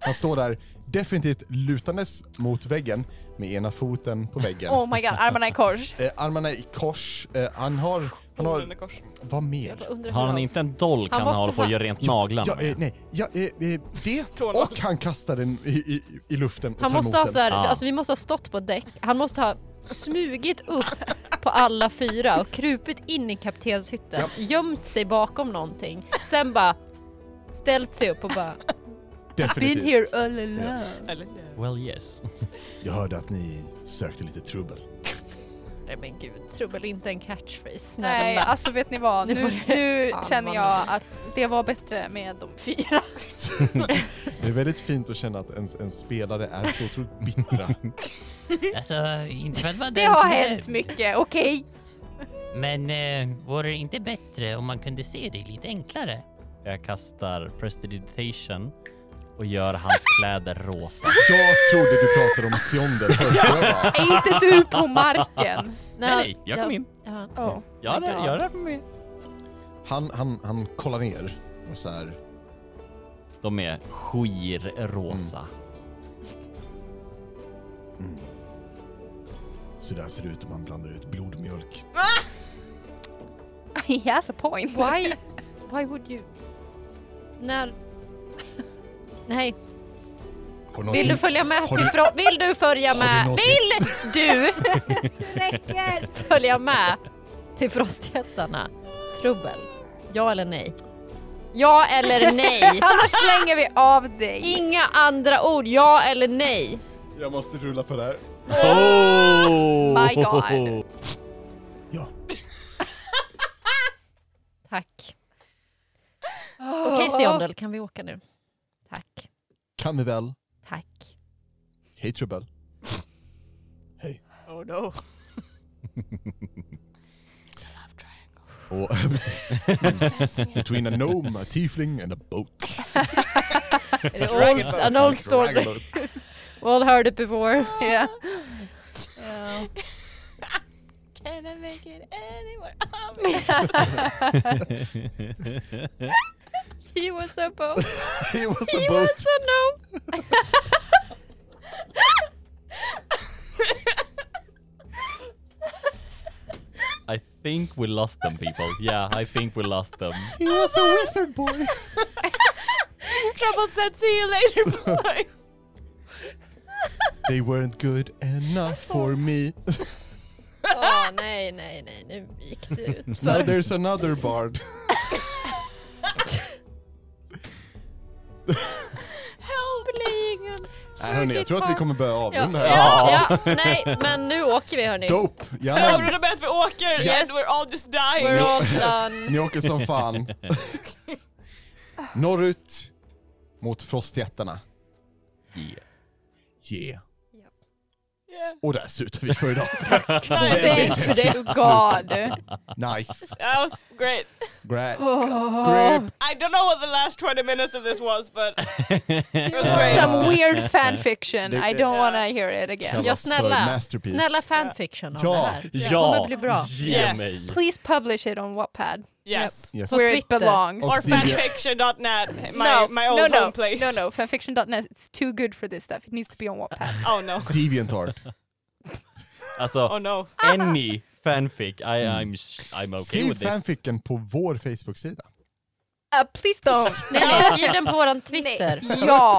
[SPEAKER 1] Han står där definitivt lutandes mot väggen med ena foten på väggen.
[SPEAKER 6] Oh my god, armarna i kors.
[SPEAKER 1] Eh, armarna i kors. Eh, han har... Han har...
[SPEAKER 3] Kors.
[SPEAKER 1] Vad mer?
[SPEAKER 6] Undrar
[SPEAKER 5] Har
[SPEAKER 6] hur
[SPEAKER 5] han inte en dolk
[SPEAKER 2] Han
[SPEAKER 5] han,
[SPEAKER 2] måste
[SPEAKER 5] håller på att
[SPEAKER 2] ha-
[SPEAKER 5] göra rent naglarna
[SPEAKER 1] Ja,
[SPEAKER 5] med?
[SPEAKER 1] eh, nej, ja, eh, eh, det
[SPEAKER 3] Tårna.
[SPEAKER 1] och han kastar den i, i, i luften och
[SPEAKER 2] Han
[SPEAKER 1] tar
[SPEAKER 2] måste
[SPEAKER 1] emot
[SPEAKER 2] ha så här,
[SPEAKER 5] Ah.
[SPEAKER 2] alltså vi måste ha stått på däck. Han måste ha smugit upp på alla fyra och krupit in i kaptenshytten, gömt sig bakom någonting, sen bara ställt sig upp och bara
[SPEAKER 1] den.
[SPEAKER 6] Been
[SPEAKER 1] Definitivt.
[SPEAKER 6] here all along.
[SPEAKER 3] Eller?
[SPEAKER 5] Well yes.
[SPEAKER 1] Jag hörde att ni sökte lite trubbel.
[SPEAKER 2] nej men gud, trubbel inte en catchphrase snälla.
[SPEAKER 6] Nej, alltså vet ni vad?
[SPEAKER 2] Nu
[SPEAKER 6] Nu,
[SPEAKER 2] får det-
[SPEAKER 6] nu
[SPEAKER 2] Fan,
[SPEAKER 6] känner
[SPEAKER 2] vad
[SPEAKER 6] jag att det var bättre med de fyra.
[SPEAKER 1] Det är väldigt fint att känna att en, en spelare är så otroligt bittra.
[SPEAKER 7] Alltså, inte för att vara
[SPEAKER 6] Det
[SPEAKER 7] den
[SPEAKER 6] har
[SPEAKER 7] som är-
[SPEAKER 6] hänt mycket, okej?
[SPEAKER 7] Men eh, vore det inte bättre om man kunde se det lite enklare?
[SPEAKER 5] Jag kastar prestidigitation och gör hans kläder rosa.
[SPEAKER 1] Jag trodde du pratade om Siondel först. Jag bara,
[SPEAKER 6] Är inte du på marken?
[SPEAKER 5] Nej, nej, jag kom in.
[SPEAKER 2] Ja.
[SPEAKER 6] Oh.
[SPEAKER 5] Jag rör, jag rör mig.
[SPEAKER 1] han, han, han kollar ner och så här.
[SPEAKER 5] De är skirrosa.
[SPEAKER 1] Mm. Så där ser det ut om man blandar ut blodmjölk.
[SPEAKER 6] He has a point.
[SPEAKER 2] Why? Why would you? När? Nej.
[SPEAKER 1] Har någon-
[SPEAKER 2] Vill du följa med
[SPEAKER 1] Har
[SPEAKER 2] till
[SPEAKER 1] du-
[SPEAKER 2] frå- Vill du följa
[SPEAKER 1] har du
[SPEAKER 2] med?
[SPEAKER 1] någonsin-
[SPEAKER 2] Vill du följa med till Frostjättarna? Trubbel. Ja eller nej? Ja eller nej?
[SPEAKER 6] Annars slänger vi av dig.
[SPEAKER 2] Inga andra ord. Ja eller nej?
[SPEAKER 1] Jag måste rulla för det här.
[SPEAKER 8] Oh!
[SPEAKER 6] My God.
[SPEAKER 1] Ja.
[SPEAKER 2] Tack. Okej Seondel, kan vi åka nu? Tack.
[SPEAKER 1] Kan vi väl?
[SPEAKER 2] Tack.
[SPEAKER 1] Hej Trubbel.
[SPEAKER 3] Oh no.
[SPEAKER 1] Och between a gnome, a tiefling and a boat.
[SPEAKER 2] An old, an old story.
[SPEAKER 1] Dragonboat.
[SPEAKER 2] We all heard it before.
[SPEAKER 6] Yeah.
[SPEAKER 3] Can I make it anywhere?
[SPEAKER 2] He was a boat.
[SPEAKER 1] He was
[SPEAKER 2] He
[SPEAKER 1] a boat.
[SPEAKER 2] was a no.
[SPEAKER 8] I think we lost them people. Yeah, I think we lost them.
[SPEAKER 1] He was a wizard boy.
[SPEAKER 3] Trouble said see you later boy.
[SPEAKER 1] They weren't good enough for me.
[SPEAKER 2] Åh nej, nej, nej, nu gick det ut.
[SPEAKER 1] Now there's another bard.
[SPEAKER 2] Help!
[SPEAKER 1] Nej, hörni, jag tror att vi kommer börja
[SPEAKER 2] Ja,
[SPEAKER 1] avrunda här.
[SPEAKER 2] ja, ja, nej, men nu åker vi hörni.
[SPEAKER 1] Dope!
[SPEAKER 3] Jag
[SPEAKER 1] Ja,
[SPEAKER 3] avrundar med att vi åker and
[SPEAKER 2] Yes.
[SPEAKER 3] we're all just dying.
[SPEAKER 2] We're all done.
[SPEAKER 1] ni åker som fan. Norrut mot frostjättarna.
[SPEAKER 8] Yeah.
[SPEAKER 1] Yeah.
[SPEAKER 3] Yeah.
[SPEAKER 1] Och där slutar vi för idag.
[SPEAKER 6] Thank you God.
[SPEAKER 1] Nice.
[SPEAKER 3] That was great.
[SPEAKER 1] Great.
[SPEAKER 3] I don't know what the last 20 minutes of this was but it was great.
[SPEAKER 6] Some weird fan fiction.
[SPEAKER 1] Det-
[SPEAKER 6] I don't wanna hear it again.
[SPEAKER 1] Kallas
[SPEAKER 2] Ja,
[SPEAKER 1] för
[SPEAKER 2] snälla.
[SPEAKER 1] masterpiece.
[SPEAKER 2] Snälla fanfiction om
[SPEAKER 1] Ja.
[SPEAKER 2] det här.
[SPEAKER 8] Ja,
[SPEAKER 2] Det kommer bli bra.
[SPEAKER 8] ge
[SPEAKER 3] Yes.
[SPEAKER 8] mig.
[SPEAKER 6] Please publish it on Wattpad.
[SPEAKER 3] Yes.
[SPEAKER 1] Yes.
[SPEAKER 2] På
[SPEAKER 6] Where it
[SPEAKER 2] Twitter.
[SPEAKER 6] belongs.
[SPEAKER 1] Och
[SPEAKER 3] Or
[SPEAKER 1] vi-
[SPEAKER 3] fanfiction.net, my,
[SPEAKER 6] no,
[SPEAKER 3] my old
[SPEAKER 6] no, no,
[SPEAKER 3] home place.
[SPEAKER 6] No, no, fanfiction.net. It's too good for this stuff. It needs to be on Wattpad.
[SPEAKER 3] Oh no.
[SPEAKER 1] Deviantart.
[SPEAKER 8] Alltså,
[SPEAKER 3] Oh no.
[SPEAKER 8] any fanfic, I, I'm, sh- I'm okay
[SPEAKER 1] Mm. Skriv
[SPEAKER 8] with this.
[SPEAKER 1] fanficken på vår Facebook-sida.
[SPEAKER 6] Uh, please don't.
[SPEAKER 2] Nej, nej, skriv den på våran Twitter.
[SPEAKER 6] ja.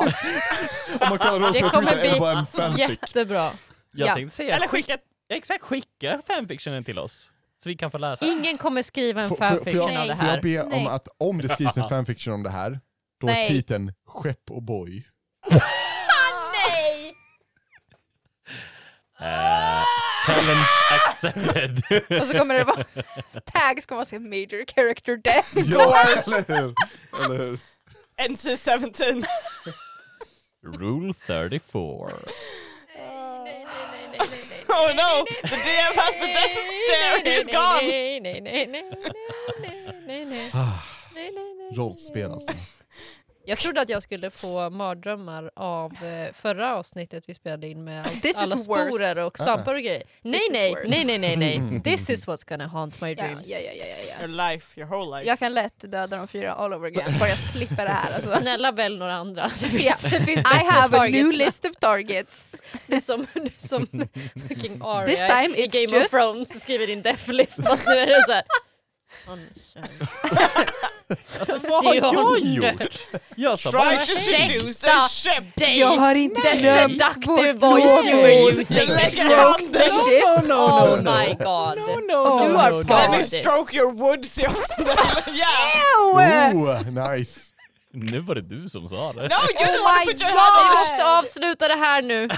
[SPEAKER 1] Om man kollar oss
[SPEAKER 2] Det
[SPEAKER 1] på
[SPEAKER 2] kommer
[SPEAKER 1] Twitter är det
[SPEAKER 2] bli-
[SPEAKER 1] bara en fanfic.
[SPEAKER 2] Jättebra.
[SPEAKER 8] Jag
[SPEAKER 6] Ja.
[SPEAKER 8] tänkte säga,
[SPEAKER 3] Eller
[SPEAKER 8] skick,
[SPEAKER 3] skicka
[SPEAKER 8] exakt, skicka fanfictionen till oss. Så vi kan få läsa.
[SPEAKER 2] Ingen kommer skriva en
[SPEAKER 1] Får- får- får
[SPEAKER 2] fanfiction av det
[SPEAKER 1] jag- Får jag
[SPEAKER 2] här.
[SPEAKER 1] be om
[SPEAKER 2] Nej.
[SPEAKER 1] att om det skrivs en fanfiction om det här, då är
[SPEAKER 6] Nej.
[SPEAKER 1] titeln Skepp och boj.
[SPEAKER 8] Eh, challenge accepted.
[SPEAKER 6] Och så kommer det vara... Tag ska vara så här major character death.
[SPEAKER 1] Ja, eller hur? Eller hur?
[SPEAKER 3] NC-17.
[SPEAKER 8] Rule 34.
[SPEAKER 3] Oh no, the DM has the death stare, he's gone.
[SPEAKER 2] Nej, nej, nej, nej, nej, nej, nej, nej. Nej, nej, nej.
[SPEAKER 1] Rollspel alltså.
[SPEAKER 2] Jag trodde att jag skulle få mardrömmar av eh, förra avsnittet vi spelade in med allt,
[SPEAKER 6] This
[SPEAKER 2] alla
[SPEAKER 6] is worse.
[SPEAKER 2] sporer och svampar och grejer. Nej,
[SPEAKER 6] is
[SPEAKER 2] nej,
[SPEAKER 6] worse.
[SPEAKER 2] nej, nej, nej, nej. This is what's gonna haunt my
[SPEAKER 6] Ja,
[SPEAKER 2] dreams.
[SPEAKER 6] ja, ja, ja, ja,
[SPEAKER 3] Your
[SPEAKER 6] ja.
[SPEAKER 3] life, your whole life.
[SPEAKER 6] Jag kan lätt döda de fyra all over again, bara jag slipper det här. Alltså.
[SPEAKER 2] Snälla välj några andra. Det
[SPEAKER 6] Ja.
[SPEAKER 2] finns, det finns
[SPEAKER 6] I have a
[SPEAKER 2] targets
[SPEAKER 6] new
[SPEAKER 2] nu.
[SPEAKER 6] list of targets.
[SPEAKER 2] Det är som, det är som fucking Arya
[SPEAKER 6] This time
[SPEAKER 2] i
[SPEAKER 6] it's
[SPEAKER 2] Game of
[SPEAKER 6] just-
[SPEAKER 2] Thrones som skriver din death list fast nu är det såhär...
[SPEAKER 8] Alltså, vad har jag gjort? Jag sa bara
[SPEAKER 3] Try to seduce
[SPEAKER 2] Ursäkta.
[SPEAKER 3] a ship.
[SPEAKER 6] Jag har inte glömt
[SPEAKER 2] Seductive voice you were using.
[SPEAKER 3] Just let your
[SPEAKER 6] Stroke
[SPEAKER 3] hand
[SPEAKER 6] the
[SPEAKER 3] down.
[SPEAKER 6] shit.
[SPEAKER 2] Oh my god.
[SPEAKER 8] Oh
[SPEAKER 6] no,
[SPEAKER 2] you
[SPEAKER 6] no,
[SPEAKER 2] are
[SPEAKER 6] no, no.
[SPEAKER 3] Let me
[SPEAKER 2] part of this.
[SPEAKER 3] stroke your wood, Seondel. Yeah.
[SPEAKER 1] Oh, nice.
[SPEAKER 8] Nu var det du som sa det.
[SPEAKER 3] No, you're the
[SPEAKER 6] Oh
[SPEAKER 3] one
[SPEAKER 6] my
[SPEAKER 3] who put your hand
[SPEAKER 2] Vi
[SPEAKER 3] on the
[SPEAKER 2] måste avsluta det här nu.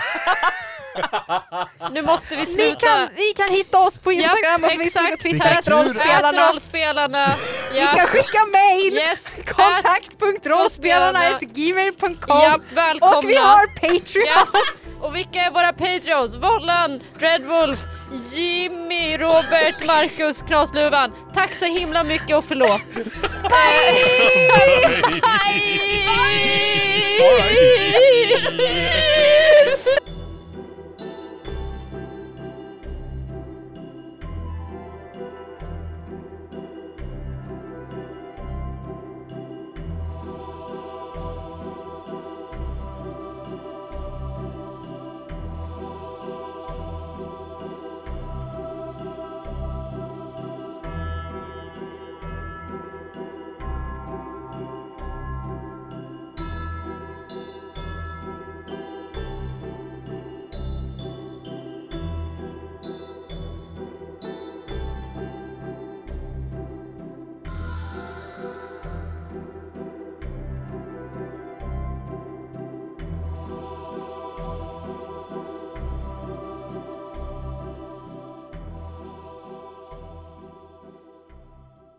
[SPEAKER 2] nu måste vi
[SPEAKER 6] Ni
[SPEAKER 2] sluta.
[SPEAKER 6] kan, ni kan hitta oss på Instagram och
[SPEAKER 2] exakt.
[SPEAKER 6] Facebook och Twitter,
[SPEAKER 1] Vilken
[SPEAKER 6] att
[SPEAKER 1] tur.
[SPEAKER 2] Ät
[SPEAKER 6] rollspelarna.
[SPEAKER 2] rollspelarna.
[SPEAKER 6] Ni
[SPEAKER 2] Ja.
[SPEAKER 6] kan skicka mail!
[SPEAKER 2] Yes. Ät-
[SPEAKER 6] Kontakt.rollspelarna gmail.com
[SPEAKER 2] Ja, välkomna.
[SPEAKER 6] Och vi har Patreon!
[SPEAKER 2] Yes. Och vilka är våra patreons? Vollan, Dreadwolf, Jimmy, Robert, Marcus, Knasluvan. Tack så himla mycket och förlåt. Bye! Bye!
[SPEAKER 8] Alright.